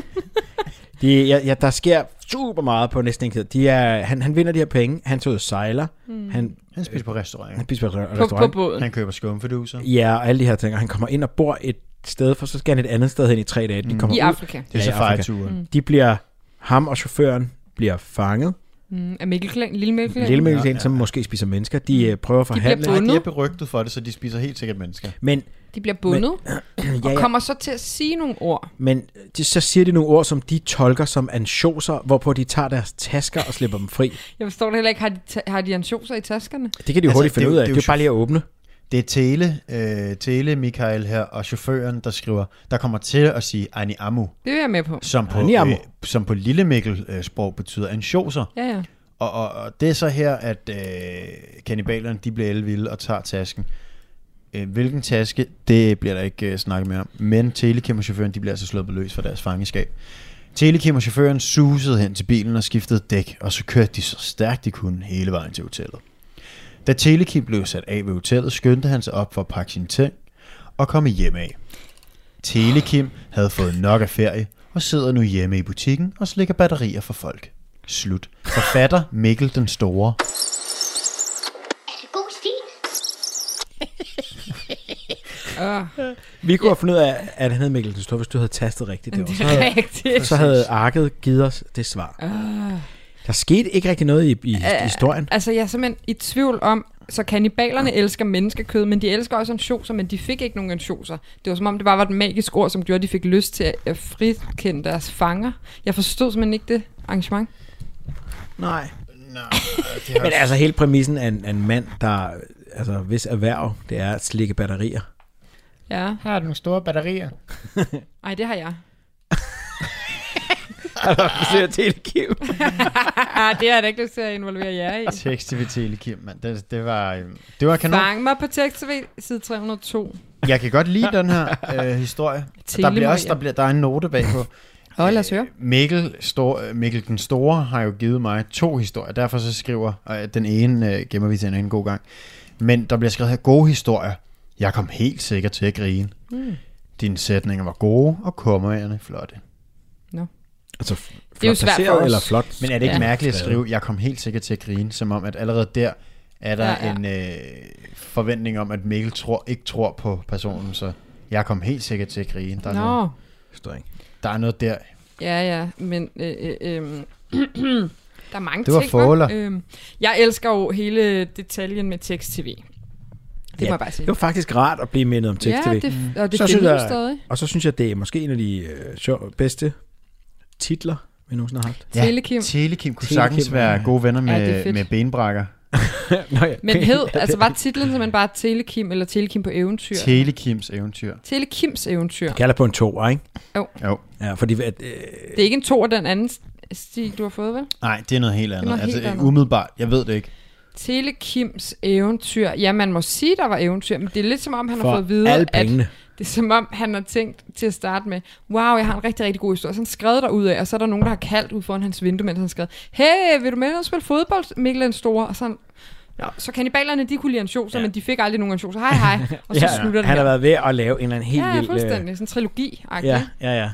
S5: De, ja, ja. Der sker super meget på næsten enkelt. De er, han, han vinder de her penge, han tager ud og sejler, mm. han,
S4: Han spiser på restaurant.
S5: han spiser på et
S3: På,
S5: restaurant.
S3: på båden.
S4: Han køber skumfiduser.
S5: Ja, og alle de her ting, og han kommer ind og bor et sted, for så skal han et andet sted hen i tre dage. De kommer
S3: Mm. I
S5: ud,
S3: Afrika.
S4: Det er
S5: Ja, i Afrika.
S4: safari-turen. Mm.
S5: de bliver, ham og chaufføren bliver fanget.
S3: Mm, er Mikkel Klan, Lille Mikkel Klan?
S5: Lille Mikkel, ja, ja, ja. som måske spiser mennesker, de øh, prøver at forhandle.
S3: bundet.
S4: De er berygtet for det, så de spiser helt sikkert mennesker.
S5: Men, *clears throat*
S3: De bliver bundet
S5: ja,
S3: og
S5: ja,
S3: kommer så til at sige nogle ord.
S5: men de, så siger de nogle ord, som de tolker som ansjoser, hvorpå de tager deres tasker og slipper dem fri.
S3: Jeg forstår det heller ikke. Har de, ta- har de ansjoser i taskerne?
S5: Det kan de jo altså,
S4: Altså,
S5: hurtigt finde
S4: det er
S5: ud
S4: jo-
S5: af.
S4: det
S5: Det
S4: er
S5: er
S4: jo
S5: jo bare lige at åbne.
S4: Det er Tele, øh, Tele Michael her, og chaufføren, der skriver, der kommer til at sige Ani Amu,
S3: Det er jeg med på.
S4: som på,
S5: Ani Amu.
S4: Øh, som på lille Mikkel øh, sprog betyder ansjoser.
S3: Ja, ja.
S4: Og, og, og det er så her, at øh, kannibalerne de bliver elvilde og tager tasken. Øh, hvilken taske, det bliver der ikke øh, snakket mere om. Men Telekim og chaufføren de bliver altså sluppet løs fra deres fangeskab. Telekim og chaufføren susede hen til bilen og skiftede dæk, og så kørte de så stærkt de kunne hele vejen til hotellet. Da Telekim blev sat af ved hotellet, skyndte han sig op for at pakke sine ting og komme hjem af. Telekim havde fået nok af ferie og sidder nu hjemme i butikken og slikker batterier for folk. Slut. Forfatter Mikkel den Store.
S2: Er det god stil?
S3: Øh,
S5: Vi kunne have fundet ud af, at han hed Mikkel den Store, hvis du havde tastet rigtigt det år.
S3: det
S5: Så
S3: er
S5: havde,
S3: rigtigt.
S5: så havde arket givet os det svar. Der skete ikke rigtig noget i, i, i historien.
S3: Altså, jeg er simpelthen i tvivl om, så kannibalerne elsker menneskekød, men de elsker også ansjoser, men de fik ikke nogen ansjoser. Det var som om, det bare var et magisk ord, som gjorde, at de fik lyst til at frikende deres fanger. Jeg forstod simpelthen ikke det arrangement.
S5: Nej. *laughs* Men altså hele præmissen af en, af en mand, der altså hvis erhverv, det er at slikke
S3: *laughs*
S5: batterier.
S3: Ja.
S8: Her er nogle store batterier.
S3: Ej, det har jeg.
S5: Forsøger telekiv.
S3: Ah, det har jeg da ikke lyst til at involvere jer i.
S4: Tekst ved Telekim, mand. Det, det, var, øhm, det var kanon.
S3: Fang mig på tekst-tv, side 302.
S4: Jeg kan godt lide den her øh, historie. Der bliver
S3: Telemaria.
S4: også der, bliver, der er en note bagpå.
S3: Åh, lad os høre.
S4: Mikkel, Stor, øh, Mikkel den Store har jo givet mig to historier, derfor så skriver og den ene øh, gemmer vi til en anden god gang. Men der bliver skrevet her gode historier. Jeg kom helt sikkert til at grine. Mm. Dine sætninger var gode, og kommaerne flotte.
S5: Altså,
S3: Det er jo svært for os.
S5: Eller flot.
S4: Men er det ikke
S3: Ja.
S4: ja. mærkeligt at skrive, jeg kom helt sikkert til at grine, som om, at allerede der er der
S3: Ja,
S4: ja,
S3: ja.
S4: ja. en øh, forventning om, at Mikkel tror, ikke tror på personen, så jeg kom helt sikkert til at grine. Der er, noget,
S3: Nå.
S5: Forstår ikke.
S4: der er noget der.
S3: Ja, ja, men øh, øh, øh, *clears throat* der er mange
S4: Det var
S3: ting. hva'?
S4: forholder.
S3: Øhm, jeg elsker jo hele detaljen med tekst-tv. Det ja. må jeg bare sige.
S5: Det var faktisk rart at blive mindet om tekst
S3: ja,
S5: TV.
S3: det, og det
S5: Så
S3: så
S5: synes
S3: findes jeg...
S5: jeg-
S3: stadig.
S5: Og så synes jeg, det er måske en af de øh, sjove, bedste titler, vi nogensinde
S3: *laughs*
S5: har haft.
S3: Telekim.
S4: Telekim kunne
S5: Telekim,
S4: sagtens være
S5: ja.
S4: gode venner
S3: Ja, det er
S4: med,
S3: fedt.
S4: med benbrækker.
S5: Nå, ja. *laughs*
S3: Men hed, altså var titlen simpelthen bare Telekim eller Telekim på eventyr?
S4: Telekims eventyr.
S3: Telekims eventyr.
S5: Kalder på en to, ikke?
S4: Jo.
S5: Ja, fordi at, øh,
S3: Det er ikke en to af den anden stil, du har fået, vel?
S4: Nej, det er noget helt andet.
S3: noget helt
S4: altså,
S3: andet.
S4: Umiddelbart, jeg ved det ikke.
S3: Telekims eventyr. Ja, man må sige, der var eventyr, men det er lidt som om, han har
S5: For
S3: fået at vide,
S5: alle
S3: at
S5: pengene.
S3: det er som om, han har tænkt til at starte med, wow, jeg har en rigtig, rigtig god historie. Så han skrev der ud af, og så er der nogen, der har kaldt ud foran hans vindue, mens han skrev, hey, vil du med ned og spille fodbold, Mikkel den Store? Og sådan, Nå, så kanibalerne, de kunne lide ansjoser, ja. men de fik aldrig nogen ansjoser. Hej,
S5: *laughs*
S3: hej. Og så ja, slutter det
S5: han
S3: her.
S5: har været ved at lave en eller anden helt
S3: Ja, ja,
S5: vild... øh,
S3: fuldstændig. Sådan en trilogi -agtig.
S5: Ja, ja, ja.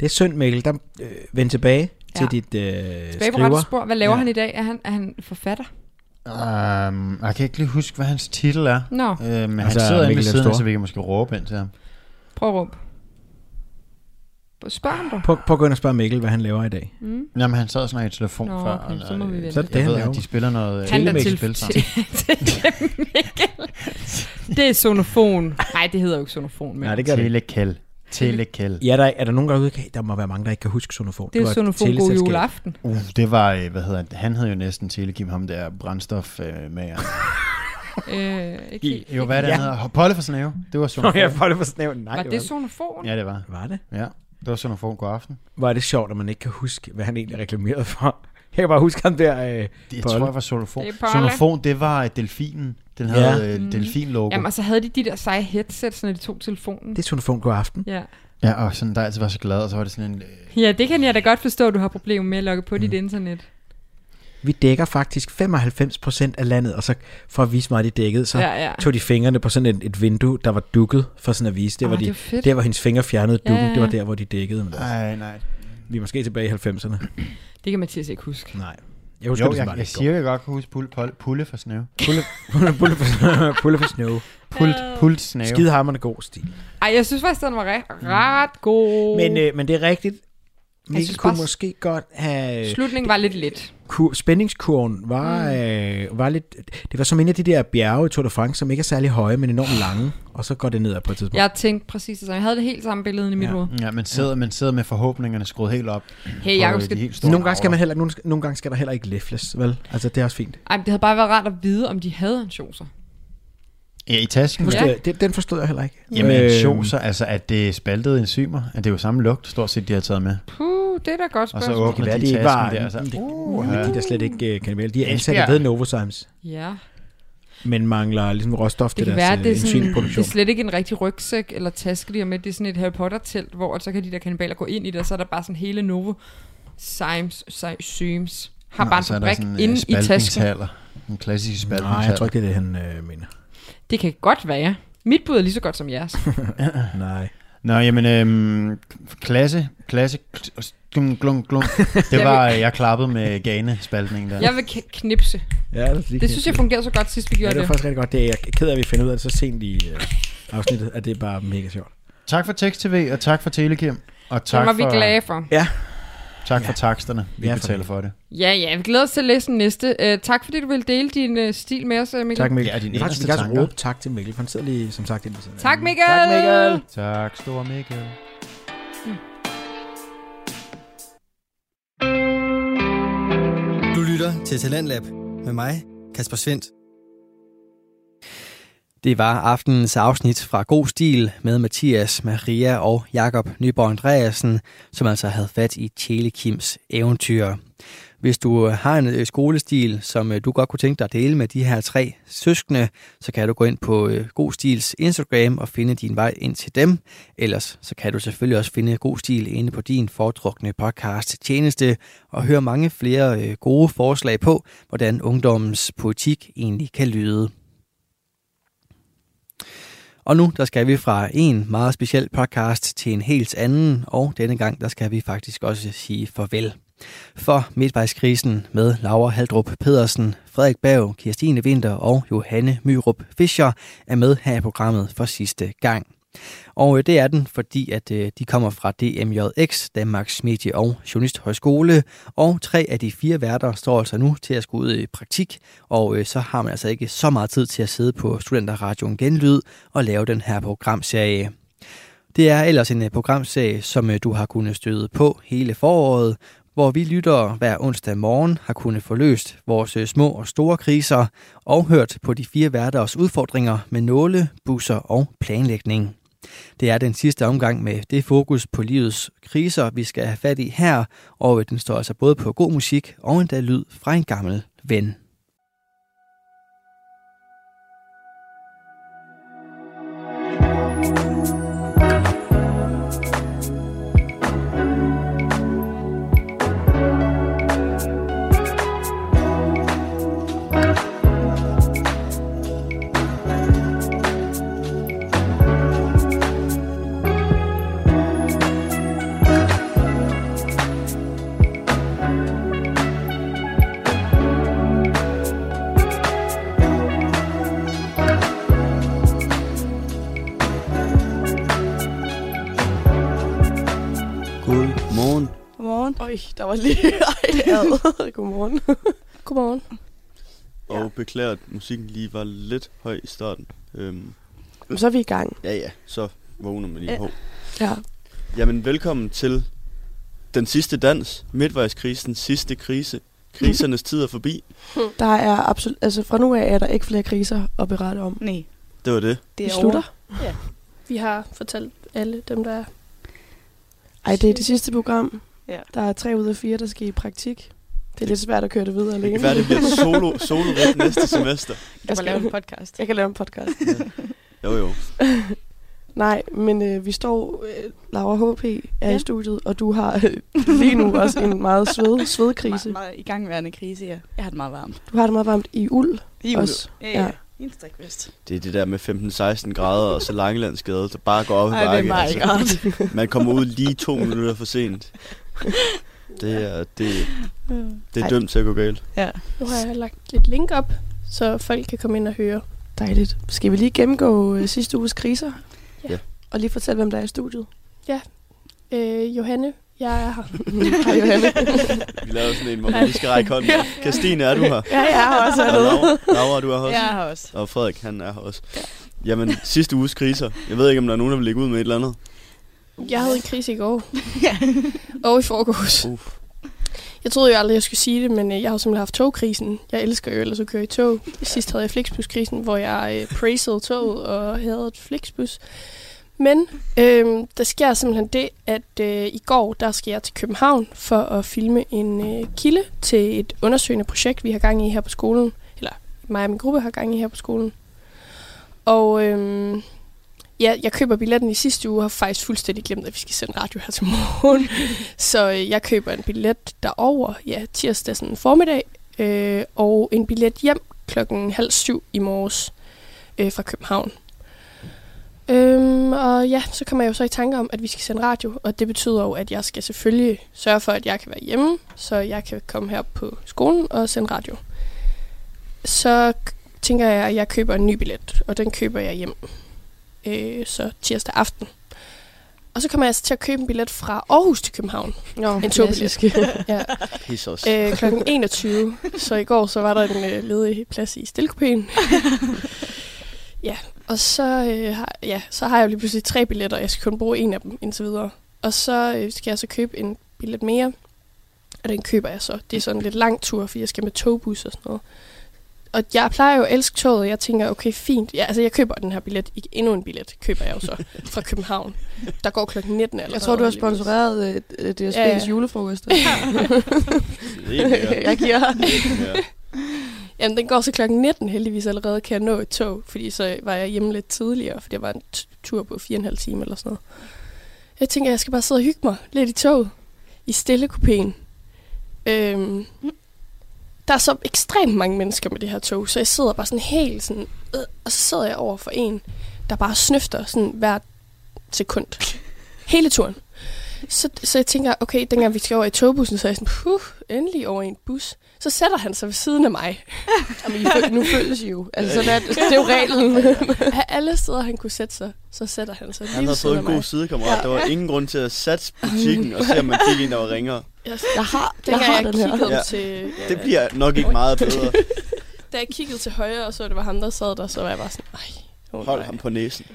S5: Det er synd, Mikkel. Der, øh, vend tilbage ja. til
S3: Ja.
S5: dit øh,
S3: Tilbage på
S5: skriver.
S3: rette spor. Hvad laver
S5: Ja.
S3: ja. han i dag? Er han, er han forfatter?
S4: Um, jeg kan ikke lige huske, hvad hans titel er.
S3: Nå,
S4: Øhm,
S5: Altså,
S4: altså, han sidder inde
S5: Mikkel
S4: ved
S5: den
S4: siden, af,
S5: Store.
S4: så vi kan måske råbe ind til ham.
S3: prøv at råbe. Spørg ham dog.
S5: Prøv, prøv at gå ind og spørge Mikkel, hvad han laver i dag.
S3: Mm.
S4: Jamen, han sad og snakkede i telefon
S3: Nå,
S4: før.
S3: okay,
S4: og,
S3: så må vi
S4: øh,
S3: vente.
S5: Så er det det,
S4: Jeg
S5: han
S4: ved,
S5: laver.
S4: at de spiller noget øh,
S3: Han er til,
S4: Telemix-spil sammen.
S3: til, *laughs* til Mikkel. Det er sonofon. Nej, det hedder jo ikke sonofon. Men
S5: Nej, det gør det ikke.
S4: Telekel. Telekel.
S5: Ja, der, er der nogen, der er ude, okay, der må være mange, der ikke kan huske Sonofon.
S3: det er
S5: var et
S3: sonofon god
S5: teleselskab.
S3: juleaften.
S4: *laughs* Uh, det var, øh, hvad hedder han? Han hed jo næsten Telekim, ham der brændstof øh, med.
S5: *laughs*
S3: Øh, ikke helt.
S4: Jo, hvad er det, ja.
S5: Ja.
S4: han hedder? Polle for Snæve. Det var
S5: Nå, jeg
S4: Sonofon.
S5: får det for snævn. Nej,
S3: Var det
S5: var,
S3: sonofon?
S4: Ja, det var.
S5: var det?
S4: Ja, det var Sonofon. God aften.
S5: Var det sjovt, at man ikke kan huske, hvad han egentlig reklamerede for? Jeg kan bare huske ham der... Øh,
S4: Det, jeg
S5: Polle.
S4: tror, jeg var Sonofon.
S3: Det er Polle.
S4: Sonofon, det var øh, delfinen. Den havde ja. øh, delfinlogo.
S3: Jamen, og så havde de de der seje headsets, når de tog telefonen.
S5: det er Sonofon god aften.
S3: Ja.
S4: Ja, og sådan, der altid var så glad, og så var det sådan en... Øh,
S3: ja, det kan jeg da godt forstå, at du har problemer med at logge på dit
S5: Mm.
S3: internet.
S5: Vi dækker faktisk 95% af landet, og så for at vise mig, at de dækkede, så
S3: Ja, ja.
S5: tog de fingrene på sådan et, et vindue, der var dukket for sådan at vise. Det
S3: Ah,
S5: var
S3: det
S5: de,
S3: er fedt.
S5: der, hvor hendes fingre fjernede dukken,
S3: Ja, ja.
S5: det var der, hvor de dækkede. Men altså,
S4: nej, nej.
S5: vi er måske tilbage i 90'erne.
S3: Det kan Mathias ikke huske.
S5: Nej. Jeg husker
S4: Jo,
S5: det, som var
S4: jeg, jeg
S5: det
S4: siger, jeg godt kan huske pulle, pulle, pulle for snæve. Pulle,
S5: Pulle *laughs* for, pulle for snow.
S4: pult, pult snæve.
S5: Skidehammerne god stil.
S3: Ej, jeg synes faktisk, den var re- ret god.
S5: Mm. Men, øh, men det er rigtigt. Mikkel
S3: synes
S5: kunne
S3: bare-
S5: måske godt have...
S3: Slutningen var lidt let.
S5: Kur, spændingskurven var, øh, var lidt... Det var som en af de der bjerge i Tour de France, som ikke er særlig høje, men enormt lange. Og så går det nedad på et tidspunkt.
S3: Jeg tænkte præcis det samme. Jeg havde det helt samme billede i mit
S5: Ja. Mm.
S3: hoved.
S4: Ja, man sidder, man sidder med forhåbningerne skruet helt op.
S3: Hey, Jacob,
S4: skal...
S3: skal...
S4: De helt store
S5: Nogle gange, skal man
S4: navler.
S5: heller, nogle, nogle gange skal der heller ikke læfles, vel? Altså, det er også fint.
S3: Ej, men det havde bare været rart at vide, om de havde ansjoser.
S4: Ja, i tasken.
S5: Forstod, ja. det, den forstod jeg heller ikke. Øh,
S4: Jamen, ansjoser, altså at det er spaltede enzymer, at det er jo samme lugt, stort set, de har taget med.
S3: Puh, det er da et godt
S4: Og så
S3: spørgsmål.
S5: Det kan
S4: åbner de
S5: være, de
S4: tasken
S5: ikke var...
S4: der, og så...
S5: det,
S4: Uh,
S5: øh, men de er da slet ikke uh, kanibale. De er ansat
S4: Esbjerg.
S5: ved Novozymes.
S3: Ja.
S5: men mangler ligesom råstof
S3: Det
S5: til
S3: kan
S5: deres
S3: være, det er, sådan, det er
S5: insulinproduktion.
S3: slet ikke en rigtig rygsæk eller taske, de har med. Det er sådan et Harry Potter-telt, hvor så kan de der kannibaler gå ind i det, og så er der bare sådan hele Novo Symes, Sy- Symes har bare en fabrik
S5: øh,
S3: inde i tasken.
S4: øh, En klassisk
S5: Nej,
S4: spaltningshaller.
S5: jeg tror ikke, det er det, han øh, mener.
S3: Det kan godt være. Mit bud er lige så godt som jeres. Ah.
S5: Nej.
S4: Nå, jamen, øhm, klasse, klasse, glum, glum, glum. Det var, øh, jeg klappede med gane-spaltningen der.
S3: Jeg vil k- knipse.
S5: Ja,
S3: Det synes jeg fungerede så godt sidst, vi
S5: Ja,
S3: gjorde
S5: det var
S3: det.
S5: faktisk rigtig godt. Det er, jeg er ked af, at vi finder ud af det så sent i øh, afsnittet, at det er bare mega sjovt.
S4: Tak for Tekst-TV, og tak for Telekim, og
S3: Så
S4: tak
S3: var vi glade
S4: for,
S3: for.
S4: tak for taksterne. Vi
S5: Ja, for
S4: betaler
S5: det.
S4: for det.
S3: Ja, ja, vi glæder os til at læse den næste. Uh, tak fordi du ville dele din uh, stil med os, øh, Mikkel.
S5: Tak, Mikkel.
S4: Ja, dine
S5: vi, faktisk, vi
S4: inderste
S5: kan også
S4: tanker.
S5: råbe tak til Mikkel, for han sidder lige, som sagt, inde ved siden af.
S3: tak Mikkel!
S7: Tak, Mikkel.
S4: Tak, store Mikkel.
S1: Du lytter til Talentlab med mig, Kasper Svendt. Det var aftenens afsnit fra God Stil med Mathias, Maria og Jakob Nyborg Andreasen, som altså havde fat i Tjele Kims eventyr. Hvis du øh, har en øh, skolestil, som øh, du godt kunne tænke dig at dele med de her tre søskende, så kan du gå ind på øh, God Stils Instagram og finde din vej ind til dem. Ellers så kan du selvfølgelig også finde God Stil inde på din foretrukne podcast tjeneste og høre mange flere øh, gode forslag på, hvordan ungdommens politik egentlig kan lyde. Og nu der skal vi fra en meget speciel podcast til en helt anden, og denne gang der skal vi faktisk også sige farvel. For midtvejskrisen med Laura Haldrup Pedersen, Frederik Berg, Kirstine Winter og Johanne Myrup Fischer er med her i programmet for sidste gang. Og øh, det er den, fordi at øh, de kommer fra DMJX, Danmarks Medie- og Journalisthøjskole, og tre af de fire værter står altså nu til at skulle ud i praktik, og øh, så har man altså ikke så meget tid til at sidde på Studenterradioen Genlyd og lave den her programserie. Det er ellers en øh, programserie, som øh, du har kunnet støde på hele foråret, hvor vi lyttere hver onsdag morgen har kunnet få løst vores øh, små og store kriser og hørt på de fire hverdags udfordringer med nåle, busser og planlægning. Det er den sidste omgang med det fokus på livets kriser, vi skal have fat i her, og øh, den står altså både på god musik og endda lyd fra en gammel ven.
S8: Godmorgen.
S9: Godmorgen. Øj, der var lige... *laughs* Ej, ad. *laughs* Godmorgen. Godmorgen.
S8: Og beklager, at musikken lige var lidt høj i starten. Øhm,
S9: Jamen, Så er vi i gang.
S8: ja, ja, så vågner man
S10: Øh.
S8: lige
S9: Ja.
S8: på.
S9: Ja.
S8: Jamen, velkommen til Den Sidste Dans, Midtvejskrisens sidste krise.
S10: *laughs*
S8: Krisernes tid er forbi.
S9: Der er absolut... Altså, fra nu af er der ikke flere kriser at berette om.
S10: Nej,
S8: Det var det.
S10: det
S9: Vi
S10: er
S9: slutter.
S10: over.
S9: Vi har fortalt alle dem, der er... Ej, det er det sidste program.
S10: Ja.
S9: Der er tre ud af fire, der skal i praktik. Det er lidt svært at køre det videre
S8: Det
S9: alene.
S8: kan være, det bliver solo, solo
S10: *laughs*
S8: næste semester.
S10: Du
S9: *laughs* Jeg
S10: må
S9: skal-
S10: lave en podcast.
S9: Jeg kan lave en podcast. *laughs*
S8: Jo, jo.
S9: Nej, men øh, vi står... Øh, Laura H.P. er ja.
S10: Ja.
S9: i studiet, og du har øh, lige nu også en meget *laughs* sved, svedkrise.
S10: Meget, meget igangværende krise, ja. Jeg har det meget varmt.
S9: Du har det meget varmt i uld.
S10: I
S9: Også,
S10: Ja,
S9: ja.
S10: ja. I en strikvest.
S8: Det er det der med 15-16 grader og så Langelandsgade, der bare går op i
S10: Ej, det er
S8: bakke. *laughs*
S10: meget
S8: altså, man kommer ud lige to minutter for sent. Det er, det, det er
S9: Ej.
S8: dømt til at gå galt.
S9: Nu har jeg lagt et link op, så folk kan komme ind og høre. Dejligt. Skal vi lige gennemgå øh, sidste uges kriser?
S8: Ja.
S9: Og lige fortælle, hvem der er i studiet? Ja. Øh, Johanne, jeg *laughs* er her.
S10: Hej, Johanne.
S8: Vi laver sådan en, hvor man lige skal række hånden.
S10: *laughs*
S8: Ja. Christine, er du her?
S10: ja, jeg har også
S8: Og Laura, Laura, du er her også?
S10: Jeg har også.
S8: Og Frederik, han er her også. Jamen, sidste uges kriser. Jeg ved ikke, om der er nogen, der vil lægge ud med et eller andet.
S9: Jeg havde en krise i går.
S10: Ja.
S9: Og i forgårs.
S8: Uh.
S9: Jeg troede jo aldrig, jeg skulle sige det, men øh, jeg har jo simpelthen haft togkrisen. Jeg elsker jo ellers at køre i tog. Sidst havde jeg Flixbus-krisen, hvor jeg øh, praisede toget og havde et Flixbus. Men øh, der sker simpelthen det, at øh, i går, der skal jeg til København for at filme en øh, kilde til et undersøgende projekt, vi har gang i her på skolen. Eller mig og min gruppe har gang i her på skolen. Og øhm, ja, jeg køber billetten i sidste uge og har faktisk fuldstændig glemt, at vi skal sende radio her til morgen. Så øh, jeg køber en billet derover ja, tirsdag sådan formiddag, øh, og en billet hjem klokken halv syv i morges øh, fra København. Øhm, og ja, så kommer jeg jo så i tanke om, at vi skal sende radio, og det betyder jo, at jeg skal selvfølgelig sørge for, at jeg kan være hjemme, så jeg kan komme her på skolen og sende radio. Så k- tænker jeg, at jeg køber en ny billet, og den køber jeg hjem, øh, så tirsdag aften. Og så kommer jeg altså til at købe en billet fra Aarhus til København.
S10: Nå,
S9: en togbillet.
S10: klassisk. *laughs*
S9: ja.
S8: Pis os.
S9: Øh, klokken 21. Så i går så var der en øh, ledig plads i
S10: *laughs*
S9: stillekupéen. ja, og så, øh, har, ja, så har jeg jo lige pludselig tre billetter, og jeg skal kun bruge en af dem indtil videre. Og så øh, skal jeg så købe en billet mere, og den køber jeg så. Det er sådan en lidt lang tur, fordi jeg skal med togbus og sådan noget. Og jeg plejer jo at elske toget, og jeg tænker, okay, fint. Ja, altså, jeg køber den her billet. Ikke endnu en billet køber jeg jo så fra København. Der går klokken 19 allerede.
S10: Jeg tror, du har
S9: alligevel.
S10: sponsoreret øh, øh, DSB's
S9: Ja, ja.
S10: julefrokost.
S9: *laughs*
S8: Helt mere.
S10: jeg giver.
S8: Helt mere.
S9: Jamen, den går så klokken 19 heldigvis allerede, kan jeg nå et tog, fordi så var jeg hjemme lidt tidligere, for det var en t- tur på 4,5 timer eller sådan noget. Jeg tænker, jeg skal bare sidde og hygge mig lidt i toget, i stille kupéen. Øhm, der er så ekstremt mange mennesker med det her tog, så jeg sidder bare sådan helt sådan, øh, og så sidder jeg over for en, der bare snøfter sådan hvert sekund. Hele turen. Så, så jeg tænker, okay, dengang vi skal over i togbussen, så er jeg sådan, puh, endelig over i en bus. Så sætter han sig ved siden af mig.
S10: *laughs* Jamen, I føl- nu føles I jo. Altså, sådan er, det det er jo reglen.
S9: Af alle steder, han kunne sætte sig, så sætter han sig
S8: Han
S9: lige ved
S8: havde fået en
S9: siden af
S8: god
S9: mig.
S8: sidekammerat. Der var ingen grund til at satse butikken og se, om man fik en, der var ringere.
S9: Jeg,
S10: Jeg har, jeg
S9: dengang
S10: har
S9: jeg,
S10: den her.
S9: kiggede
S8: Ja.
S9: til, øh,
S8: Det bliver nok ikke meget bedre.
S9: da jeg kiggede til højre og så, at det var ham, der sad der, så var jeg bare sådan, nej.
S8: Hold ham på næsen.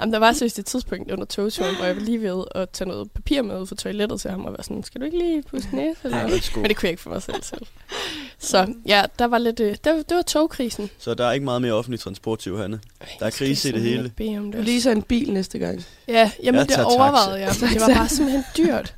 S9: Jamen, der var seriøst et tidspunkt under togturen, hvor jeg var lige ved at tage noget papir med ud fra toilettet til ham, og var sådan, skal du ikke lige pusse næse? Eller noget?
S8: Let's go.
S9: Men det kunne jeg ikke for mig selv selv. Så ja, der var lidt, øh, det, var, det var togkrisen.
S8: Så der er ikke meget mere offentlig transport til Johanne. Der er krise i det hele.
S9: Bede om det.
S10: Du leaser en bil næste gang.
S9: Ja, jamen
S8: Jeg
S9: det
S8: tager
S9: overvejede jeg. Det var bare simpelthen dyrt.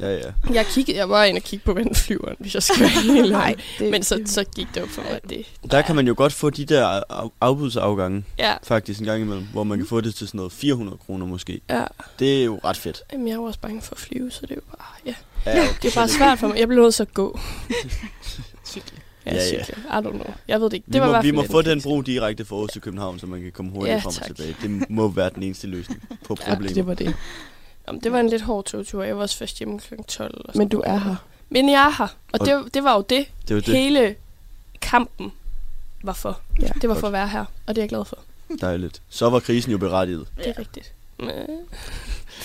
S8: Ja, ja.
S9: Jeg, kiggede, jeg var inde og kigge på vandflyveren, hvis jeg skal være
S10: *laughs*
S9: helt
S10: Nej,
S9: ej.
S10: det
S9: Men så, så gik det op for mig, at det...
S8: Der kan man jo godt få de der af- afbudsafgange
S9: Ja,
S8: faktisk en gang imellem, hvor man kan få det til sådan noget 400 kroner måske.
S9: ja.
S8: Det er jo ret fedt.
S9: Jamen, jeg var også bange for at flyve, så det var bare... Ja.
S8: Ja,
S9: Det er bare svært for mig. Jeg blev nødt til at gå. Cykle. Ja,
S8: Ja, ja.
S9: ja, cykle. I don't know. Jeg ved det ikke. Det
S8: vi
S9: var i
S8: må,
S9: hvert
S8: vi
S9: fald
S8: må
S9: lidt
S8: få den
S9: fisk.
S8: bro direkte fra Aarhus til København, så man kan komme hurtigt
S9: Ja,
S8: frem og
S9: tak.
S8: tilbage. Det må være den eneste løsning på
S10: Ja,
S8: problemet.
S10: det var det.
S9: Jamen, det var en lidt hård togtur. Jeg var også først hjemme kl. 12. Og sådan
S10: Men du
S9: noget.
S10: er her.
S9: Men jeg er her. Og,
S8: Og-
S9: det, det var jo det,
S8: det var
S9: det,
S8: det.
S9: hele kampen var for.
S10: Ja,
S9: det var
S8: godt.
S9: for at være her, og det er jeg glad for.
S8: Dejligt. Så var krisen jo berettiget.
S9: Det er rigtigt. Men-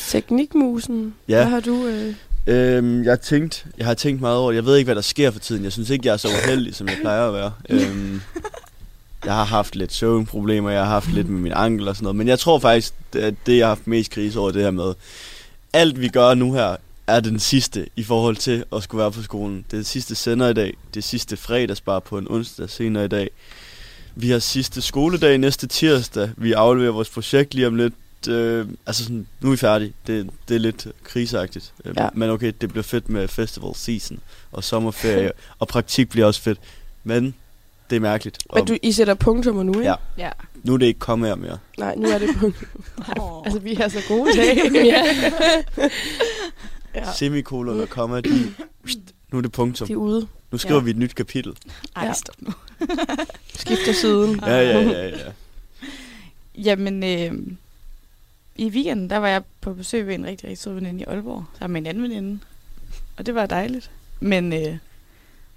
S10: Teknikmusen.
S8: Ja.
S10: Hvad har du... Øh...
S8: Øhm, jeg, tænkt, jeg har tænkt meget over det. Jeg ved ikke, hvad der sker for tiden. Jeg synes ikke, jeg er så uheldig, som jeg plejer at være. Øhm, jeg har haft lidt søvnproblemer, jeg har haft lidt med min ankel og sådan noget. Men jeg tror faktisk, at det, jeg har haft mest krise over, det her med, alt vi gør nu her, er den sidste i forhold til at skulle være på skolen. Det er sidste sender i dag, det er sidste fredagsbar på en onsdag senere i dag. Vi har sidste skoledag næste tirsdag. Vi afleverer vores projekt lige om lidt øh, altså sådan, nu er vi færdige. Det, det er lidt kriseagtigt. Øh,
S10: Ja.
S8: Men okay, det bliver fedt med festival season og sommerferie, og praktik bliver også fedt. Men det er mærkeligt.
S10: Men
S8: Og
S10: du, I sætter punktummer nu, ikke?
S8: Ja.
S3: Ja.
S8: Nu er det ikke kommet her mere.
S10: Nej, nu er det
S9: *laughs*
S10: punktum. *laughs*
S3: Oh.
S10: altså, vi er så gode i dag.
S9: ja.
S10: Ja.
S8: Semikolon og komma, de, *clears throat* nu er det punktum.
S10: De er ude.
S8: Nu skriver
S3: Ja.
S8: vi et nyt kapitel.
S11: Ej,
S10: Ja.
S11: stop nu.
S10: Skifter siden.
S8: Ja, ja, ja,
S10: *laughs*
S8: ja.
S11: Jamen, øh, i weekenden, der var jeg på besøg ved en rigtig, rigtig sød veninde i Aalborg, sammen med en anden veninde. Og det var dejligt. Men øh,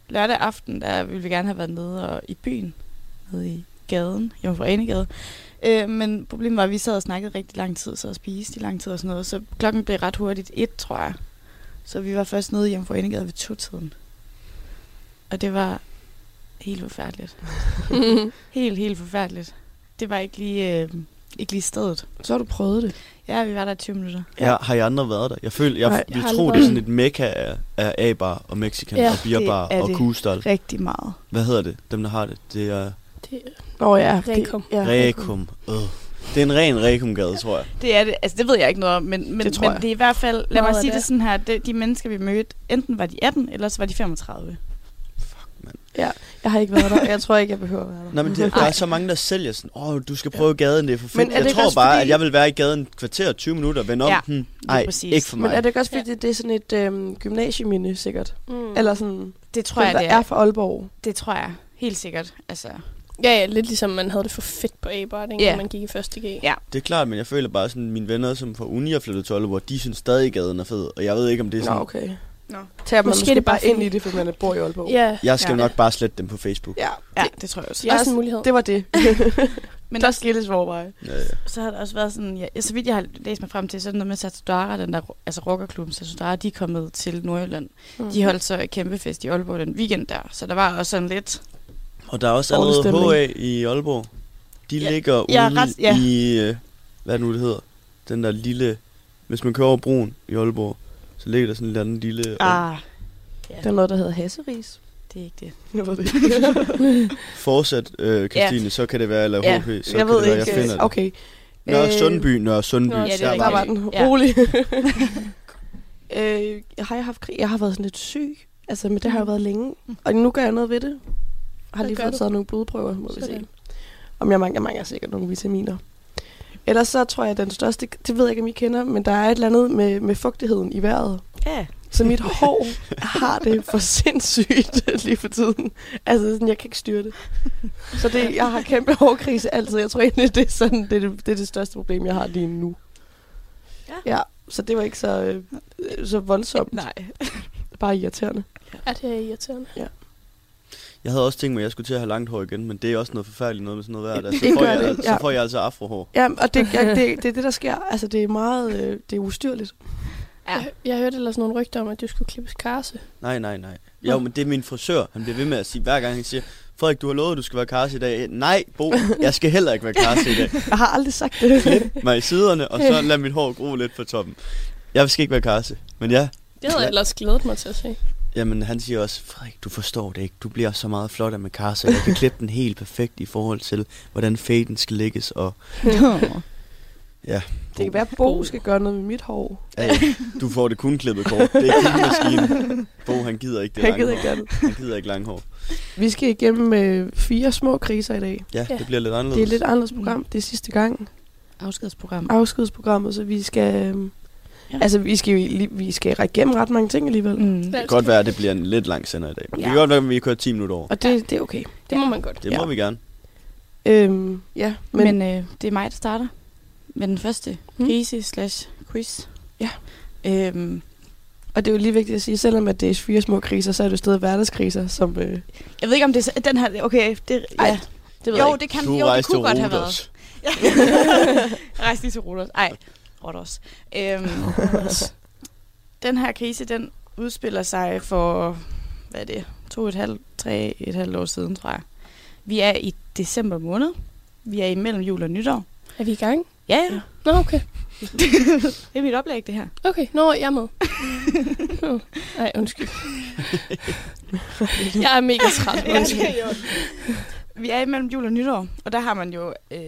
S11: lørdag aften, der ville vi gerne have været nede og, i byen, nede i gaden, hjemme fra Anegade. Øh, men problemet var, at vi sad og snakkede rigtig lang tid, så og spiste i lang tid og sådan noget. Så klokken blev ret hurtigt et, tror jeg. Så vi var først nede hjemme fra Anegade ved to-tiden. Og det var helt forfærdeligt. helt, helt forfærdeligt. Det var ikke lige, øh, ikke lige stedet.
S10: Så har du prøvet det.
S11: Ja, vi var der i 20 minutter.
S8: Jeg, har I andre været der? Jeg føler, jeg,
S10: Nej,
S8: jeg
S10: jeg har
S8: vil tro,
S10: aldrig
S8: det er sådan et mekka af, af A-bar og Mexican
S9: Ja,
S8: og bierbar
S11: det er
S8: og
S11: det.
S8: kugestol.
S11: Rigtig meget.
S8: Hvad hedder det? Dem, der har det? Det er
S9: Det,
S10: Nå ja.
S9: Rekum.
S10: Det, ja,
S8: Rekum. Øh. Det er en ren Rekum-gade, tror jeg.
S11: Det er det. Altså, det ved jeg ikke noget om, men, men,
S10: Det
S11: det,
S10: tror
S11: men
S10: jeg.
S11: det er i hvert fald... Lad
S9: Meget
S11: mig
S9: af
S11: sige
S9: det.
S11: det sådan her. Det, de mennesker, vi mødte, enten var de 18, eller så var de 35.
S8: mand.
S10: Ja, jeg har ikke været der. Jeg tror ikke, jeg behøver at være der.
S8: Nej, men det, der er så mange, der sælger sådan, åh, oh, du skal prøve gaden, det er for fedt.
S10: Men
S8: Men
S10: er det
S8: jeg
S10: ikke
S8: tror
S10: også
S8: bare,
S10: fordi-
S8: at jeg vil være i gaden et kvarter og 20 minutter og vende om.
S10: Ja,
S8: Ja, hmm,
S10: lige
S8: nej,
S10: præcis.
S8: ikke for mig.
S10: Men er det ikke også, fordi ja. det er sådan et øhm, gymnasieminde, sikkert? Mm. Eller sådan...
S11: Det tror
S10: dem,
S11: jeg,
S10: der
S11: det er.
S10: er fra Aalborg.
S11: Det tror jeg. Helt sikkert. Altså.
S10: Ja, ja, lidt ligesom man havde det for fedt på A-bar, dengang
S11: Ja.
S10: man gik i første G.
S11: Ja.
S8: Det er klart, men jeg føler bare sådan, mine venner, som fra uni er flyttet til Aalborg, de synes stadig, gaden er fed. Og jeg ved ikke, om det er
S10: Nå,
S8: sådan...
S10: okay.
S11: Nå.
S10: Tager man
S9: Måske
S10: måske,
S9: er det
S10: bare
S9: bare
S10: ind
S9: fordi-
S10: i det, for man bor i Aalborg.
S9: Ja.
S8: Jeg skal
S11: Ja.
S8: ja. nok bare slette dem på Facebook.
S10: Ja.
S11: Ja, det, det tror jeg også.
S10: Det er også en mulighed.
S9: Det var
S10: *laughs*
S9: det.
S11: Men der skilles vores veje.
S8: Ja, ja.
S11: Så har der også været sådan, ja, så vidt jeg har læst mig frem til, så er det noget med Satudara, den der, altså rockerklubben Satudara, de er kommet til Nordjylland.
S10: Mm.
S11: Mm. De holdt så et kæmpe fest i Aalborg den weekend der, så der var også sådan lidt...
S8: Og der er også
S11: Dårlig
S8: allerede HA
S11: stemning.
S8: i Aalborg. De ja, ligger ude
S11: jeg er ret- ja.
S8: i... øh, Hvad er det nu, det hedder? Den der lille... Hvis man kører over broen i Aalborg, så ligger der sådan en eller anden lille...
S11: Ah,
S10: Ja. Der er noget, der hedder Hasseris.
S11: det er ikke det.
S10: Jeg ved det *laughs*
S8: Fortsat, øh, Christine, ja. så kan det være, eller
S11: Ja,
S8: HP, så
S11: jeg
S8: kan
S11: ved
S8: det være, jeg
S11: ikke,
S8: finder
S11: øh,
S8: det.
S11: okay.
S8: Nørre
S10: Øh,
S8: Sundby, Nørre Sundby.
S10: Nå,
S11: det er
S10: der var
S11: rigtigt.
S10: den. *laughs*
S11: Ja.
S10: Rolig. øh, jeg har jeg haft krig? Jeg har været sådan lidt syg. Altså, men det har jeg været længe. Og nu gør jeg noget ved det. Jeg har
S9: Hvad
S10: lige
S9: gør
S10: fået
S9: du?
S10: taget nogle blodprøver, må vi se.
S9: Sådan.
S10: Om jeg mangler, jeg mangler sikkert nogle vitaminer. Ellers så tror jeg, at den største, det ved jeg ikke, om I kender, men der er et eller andet med, med fugtigheden i vejret.
S11: Ja.
S10: Så mit hår har det for sindssygt lige for tiden. Altså, sådan, jeg kan ikke styre det. Så det, jeg har kæmpe hårkrise altid. Jeg tror egentlig, det er, sådan, det, er det, det, er det største problem, jeg har lige nu. Ja. ja så det var ikke så, øh, øh, så voldsomt.
S11: *laughs* Nej.
S10: Bare irriterende.
S9: Er det er irriterende?
S10: Ja.
S8: Jeg havde også tænkt mig, at jeg skulle til at have langt hår igen, men det er også noget forfærdeligt noget med sådan noget vejr. Der.
S10: Det
S8: Så, får
S10: gør
S8: jeg,
S10: det,
S8: al-
S10: ja.
S8: så får jeg altså afrohår.
S10: Ja, og det, jeg,
S9: *laughs*
S10: det, det er det, der sker. Altså, det er meget... Øh, det er ustyrligt.
S9: Jeg, jeg hørte ellers nogle rygter om, at du skulle klippes karse.
S8: Nej, nej, nej. Jo, men det er min frisør. Han bliver ved med at sige, hver gang han siger, Frederik, du har lovet, at du skal være karse i dag. Nej, Bo, jeg skal heller ikke være karse i dag.
S10: Jeg har aldrig sagt
S9: *laughs*
S10: det.
S8: Klip mig i siderne, og så lad mit hår gro lidt på toppen. Jeg skal ikke være karse, men ja.
S9: Det havde jeg
S8: Ja.
S9: ellers glædet mig til at se.
S8: Jamen, han siger også, Frederik, du forstår det ikke. Du bliver så meget flottere med karse. Jeg kan klippe den helt perfekt i forhold til, hvordan faden skal lægges. Og ja,
S10: Det kan være, at Bo skal gøre noget med mit hår.
S8: Ja, ja. Du får det kun klippet kort. Det er kun maskinen. Bo, han gider ikke det
S10: Han
S8: lange
S10: gider ikke
S8: hår.
S10: det.
S8: Han gider ikke langhår.
S10: Vi skal igennem øh, fire små kriser i dag.
S8: Ja, ja, det bliver lidt anderledes.
S10: Det er et lidt anderledes
S9: Mm.
S10: program. Det er sidste gang.
S11: Afskedsprogram.
S10: Afskedsprogrammet, så vi skal... Øh,
S11: Ja.
S10: ja. Altså, vi skal, jo lige- vi skal række igennem ret mange ting alligevel.
S11: Mm.
S8: Det kan godt være, at det bliver en lidt lang sender i dag. Men Det kan godt være, at vi kører 10 minutter over.
S10: Og det, det er okay.
S9: Det må man godt.
S8: Det må vi gerne.
S10: Øhm, ja, men,
S11: Men, men øh, det er mig, der starter med den første
S10: Mm.
S11: krise slash quiz.
S10: Ja.
S11: Øhm,
S10: og det er jo lige vigtigt at sige, selvom at det er fire små kriser, så er det jo stadig hverdagskriser, som... Øh,
S11: jeg ved ikke, om det er så- den her... Okay, det, ja.
S10: Ej,
S11: det
S10: ved jeg
S11: jo,
S10: ikke.
S11: det kan
S8: Du
S11: jo, det
S8: rejste
S11: kunne
S8: til
S11: godt have
S8: Rhodos.
S11: været. Ja. *laughs* Rejs lige til Rodos. Ej, Rodos. Øhm, den her krise, den udspiller sig for, hvad er det, to og et halvt, tre et halvt år siden, tror jeg. Vi er i december måned. Vi er imellem jul og nytår.
S9: Er vi i gang?
S11: Ja, ja.
S9: Nå, okay.
S11: *laughs* Det er mit oplæg, det her.
S9: Okay, nå, jeg er med. Nå. Nej, undskyld. jeg er mega træt. Undskyld.
S11: Vi er imellem jul og nytår, og der har man jo øh,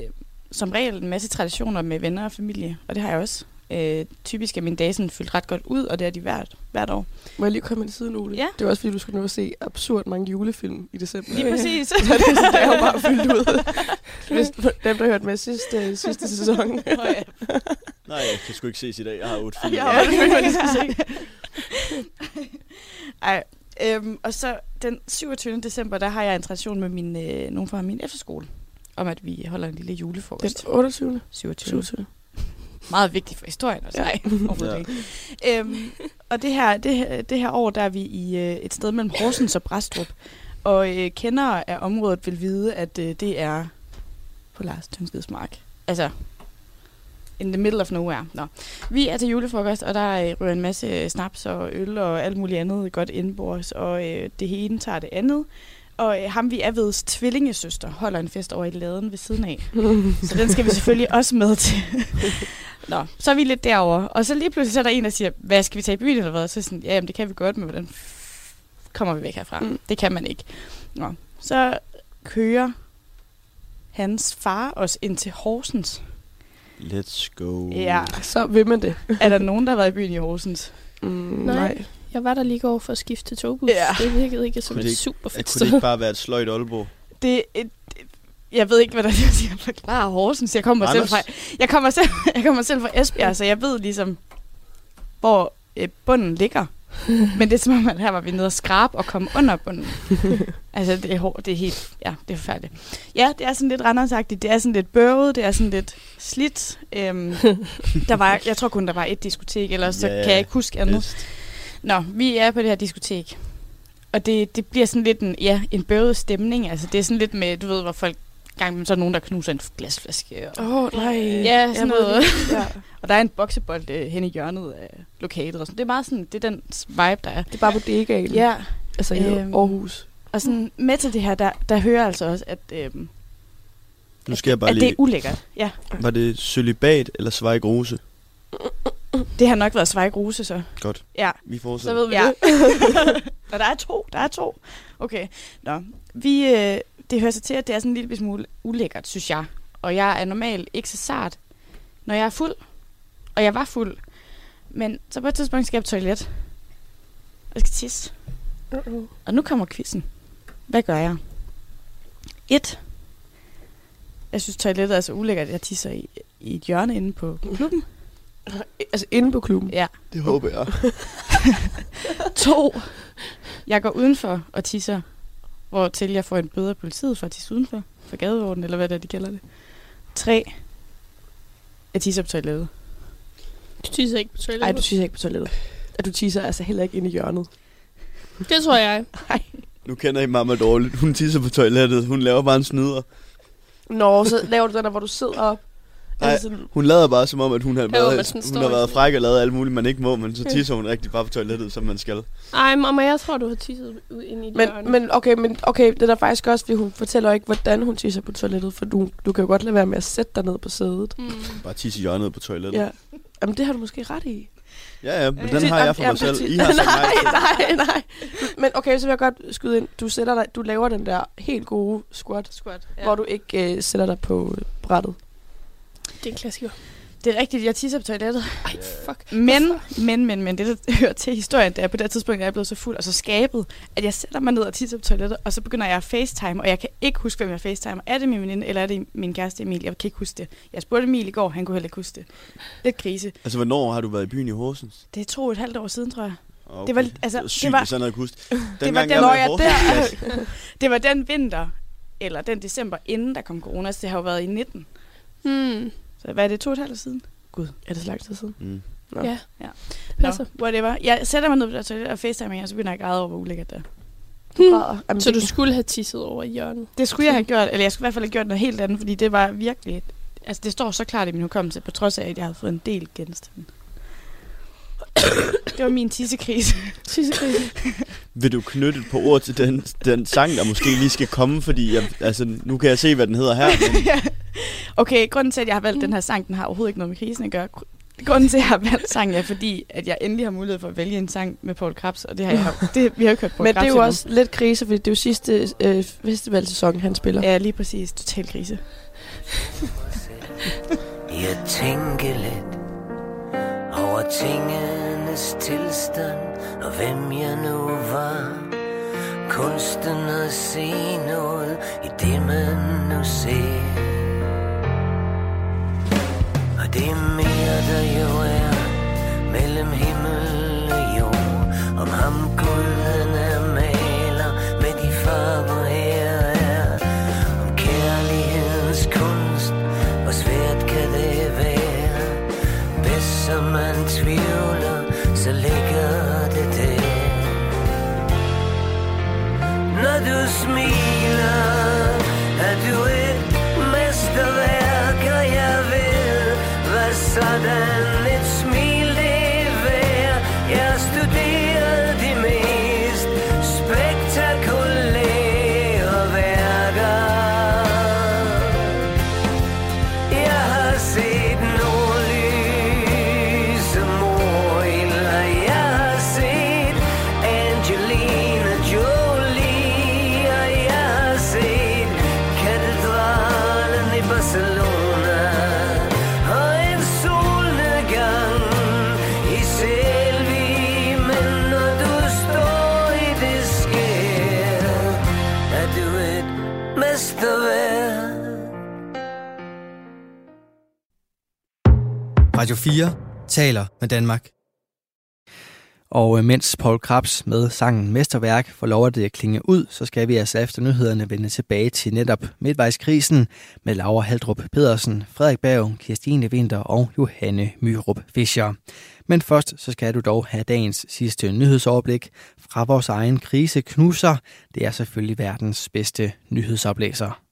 S11: som regel en masse traditioner med venner og familie, og det har jeg også. Øh, typisk er min dage sådan fyldt ret godt ud, og det er de hvert, hvert år.
S10: må jeg lige komme med en siden, Ole?
S11: Ja.
S10: Det var også, fordi du skulle nå at se absurd mange julefilm i december.
S11: Lige
S10: *laughs*
S11: præcis.
S10: Så det, så det er jo bare fyldt ud.
S11: *laughs*
S10: Hvis dem, der hørte med sidste, sidste sæson.
S11: Nå ja.
S8: Nej, jeg kan sgu ikke ses i dag. Jeg har otte film.
S10: Jeg
S11: Ja,
S10: har
S11: det
S10: otte
S11: føler
S10: film.
S11: jeg, de skal se. *laughs* Ej, øhm, og så den 27. december, der har jeg en tradition med min, øh, nogen fra min efterskole, om at vi holder en lille julefrokost.
S10: Den 28.
S11: 27.
S10: 27.
S11: Meget vigtig for historien også.
S10: Ja.
S11: Nej, overhovedet ikke. Øhm, og det her, det, her, det her år, der er vi i øh, et sted mellem Horsens og Brastrup. Og øh, kendere af området vil vide, at øh, det er på Lars Tønskeds mark. Altså, in the middle of nowhere. Nå. Vi er til julefrokost, og der øh, rører en masse snaps og øl og alt muligt andet godt indbords. Og øh, det ene tager det andet. Og øh, ham vi er ved tvillingesøster holder en fest over i laden ved
S10: *laughs*
S11: siden af. Så den skal vi selvfølgelig også med til. Nå, så er vi lidt derover. Og så lige pludselig så er der en, der siger, hvad skal vi tage i byen eller hvad? Så er jeg sådan, ja, jamen, det kan vi godt, men hvordan f- kommer vi væk herfra? Mm.
S10: Mm.
S11: Det kan man ikke. Nå, så kører hans far os ind til Horsens.
S8: Let's go.
S11: Ja,
S10: Så vil man det.
S11: *laughs* er der nogen, der har været i byen i Horsens?
S10: Mm,
S9: Nej.
S10: nej.
S9: Jeg var der lige i går for at skifte til togbus. Ja. Det virkede ikke som
S8: Kunne det
S9: et
S8: ikke-
S9: super fedt
S8: Kunne det
S9: sted.
S8: ikke bare være et sløjt Aalborg?
S11: Det, et, jeg ved ikke, hvordan *laughs* jeg skal forklare Horsens. Jeg kommer selv
S8: Randers?
S11: fra, jeg kommer selv, *laughs* jeg kommer selv fra Esbjerg, så jeg ved ligesom, hvor øh, bunden ligger. Men det er som om, at her var vi nede og skrabe og komme under
S10: *laughs*
S11: bunden. altså, det er, hårdt, det er helt, ja, det er forfærdeligt. Ja, det er sådan lidt randersagtigt. Det er sådan lidt bøvet, det er sådan lidt slidt.
S10: *laughs*
S11: Øhm, der var, jeg tror kun, der var et diskotek, ellers så
S10: Ja,
S11: kan jeg ikke huske andet.
S10: vist.
S11: Nå, vi er på det her diskotek. Og det, det bliver sådan lidt en, ja, en bøvet stemning. Altså, det er sådan lidt med, du ved, hvor folk gang med, så er der nogen, der knuser en glasflaske. og-
S9: Åh, nej.
S11: Ja, sådan
S9: Jeg ved
S11: noget.
S9: det. *laughs*
S11: Ja. Og der er en boksebold øh, hen i hjørnet af lokalet. Og sådan. Det er meget sådan, det er den vibe, der er. Det er bare bodegaen. Ja.
S10: Altså i
S9: øhm.
S10: Aarhus.
S11: Og sådan med til det her, der, der hører jeg altså også, at, øhm,
S8: Nu skal jeg bare
S11: at
S8: lige...
S11: det er ulækkert. Ja.
S8: Var det celibat eller Zweig Rose?
S11: Det har nok været Svejk Rose, så.
S8: Godt.
S11: Ja.
S8: Vi fortsætter.
S11: Så ved vi ja. det. *laughs* Nå, der er to. Der er to. Okay. Nå. Vi, øh, det hører sig til, at det er sådan en lille smule ulækkert, synes jeg. Og jeg er normalt ikke så sart, når jeg er fuld. Og jeg var fuld. Men så på et tidspunkt skal jeg på toilet. Og jeg skal tisse.
S9: Uh-uh.
S11: Og nu kommer quizzen. Hvad gør jeg? 1. Jeg synes, toilettet er så ulækkert, at jeg tisser i, i et hjørne inde på klubben. Altså inde på klubben? Ja.
S8: Det håber jeg.
S11: to. Jeg går udenfor og tisser, hvor til jeg får en bøde af politiet for at tisse udenfor. For gadeorden, eller hvad det er, de kalder det. Tre. Jeg tisser på toilettet.
S9: Du tisser ikke på toilettet.
S10: Nej, du tisser ikke på toilettet. At du tisser altså heller ikke inde i hjørnet.
S9: Det tror jeg.
S8: Nu kender I mamma dårligt. Hun tisser på toilettet. Hun laver bare en snyder.
S10: Nå, så laver du den der, hvor du sidder op.
S8: Nej,
S10: Altså,
S8: hun lader bare som om, at hun har
S9: hvor man
S8: været,
S9: sådan
S8: hun
S9: står
S8: har
S9: i
S8: været
S9: sådan-
S8: fræk og lavet alt muligt, man ikke må, men så tisser hun rigtig bare på toilettet, som man skal.
S9: Ej, mamma, jeg tror, du har tisset ud ind i
S10: Men,
S9: hjørne. Mm.
S10: men, okay, men okay, det er der faktisk også, fordi hun fortæller ikke, hvordan hun tisser på toilettet, for du, du kan jo godt lade være med at sætte dig ned på sædet.
S8: Bare tisse i hjørnet på toilettet.
S10: Ja. Jamen, det har du måske ret i.
S8: Ja, ja, men den har jeg for mig selv. I
S11: *laughs*
S8: har sagt
S10: *laughs* nej,
S8: nej.
S10: nej, nej. Men okay, så vil jeg godt skyde ind. Du, sætter dig, du laver den der helt gode squat,
S11: squat
S10: ja. hvor du ikke øh, sætter dig på øh, brættet.
S9: Det er en klassiker.
S11: Det er rigtigt, jeg tisser på toilettet. Ej, fuck. Men, men, men, men, det der *laughs* hører til historien, det er på det her tidspunkt, jeg er blevet så fuld og så skabet, at jeg sætter mig ned og tisser på toilettet, og så begynder jeg at facetime, og jeg kan ikke huske, hvem jeg facetimer. Er det min veninde, eller er det min kæreste Emil? Jeg kan ikke huske det. Jeg spurgte Emil i går, han kunne heller ikke huske det. Lidt krise.
S8: Altså, hvornår har du været i byen i Horsens?
S11: Det er to og et halvt år siden, tror jeg.
S8: Okay.
S11: Det var, altså,
S8: det var sygt,
S11: det var,
S8: hvis han havde kunst.
S11: *laughs* det var,
S8: Dengang
S11: den,
S8: jeg
S11: Nå,
S8: var i
S11: ja,
S8: Horsens,
S11: *laughs* der, det var den vinter, eller den december, inden der kom corona, så det har jo været i 19.
S9: Hmm.
S11: Så hvad er det, to og et halvt år siden? Gud,
S10: er det så lang tid siden?
S8: Mm.
S10: Nå.
S9: Ja.
S11: Ja.
S9: Passer.
S11: Nå, whatever. Jeg sætter mig ned på det toilet og facetimer, og så begynder jeg at græde over, hvor ulækkert det er.
S10: græder. Jamen,
S9: Så
S10: det-
S9: du skulle have tisset over i
S10: *laughs*
S9: hjørnet.
S11: Det skulle jeg have gjort, eller jeg skulle i hvert fald have gjort noget helt andet, fordi det var virkelig... Altså, det står så klart i min hukommelse, på trods af, at jeg havde fået en del genstande. det var min tissekrise. *laughs*
S10: tissekrise.
S8: Vil du knytte et par ord til den, den sang, der måske lige skal komme? Fordi jeg, altså, nu kan jeg se, hvad den hedder her. Men
S11: Okay, grunden til, at jeg har valgt mm. den her sang, den har overhovedet ikke noget med krisen at gøre. Gr- Grunden til, at jeg har valgt sangen, er fordi, at jeg endelig har mulighed for at vælge en sang med Paul Krabs, og det har jeg
S10: *laughs*
S11: det, vi har ikke hørt Paul
S10: Men det
S11: Krabs
S10: er jo
S11: endnu.
S10: også lidt krise, fordi det er jo sidste øh, festivalsæson, han spiller.
S11: Ja, lige præcis. Total krise.
S12: Jeg tænker lidt over tingenes tilstand og hvem jeg nu var. Kunsten at se noget i det, man nu ser. Og det er mere, der jo er mellem himmel og jord. Om ham guden er maler med de farver her er. Om kærlighedens kunst, hvor svært kan det være? Bedst som man tvivler, så ligger det der. Når du smiler, er du et mesterværk, og jeg ved, hvad sådan et smil det er værd. Jeg studerede de mest spektakulære værker. Jeg har set nordlyse morhinder. Jeg har set Angelina Jolie. Og jeg har set katedralen i Barcelona. Og en solnedgang kan være
S1: Radio 4 taler med Danmark. Og øh, mens Paul Krabs med sangen Mesterværk får lov at det klinge ud, så skal vi altså efter nyhederne vende tilbage til netop midtvejskrisen med Laura Haldrup Pedersen, Frederik Berg, Kirstine Winter og Johanne Myrup Fischer. Men først så skal du dog have dagens sidste nyhedsoverblik fra vores egen krise knuser. Det er selvfølgelig verdens bedste nyhedsoplæser.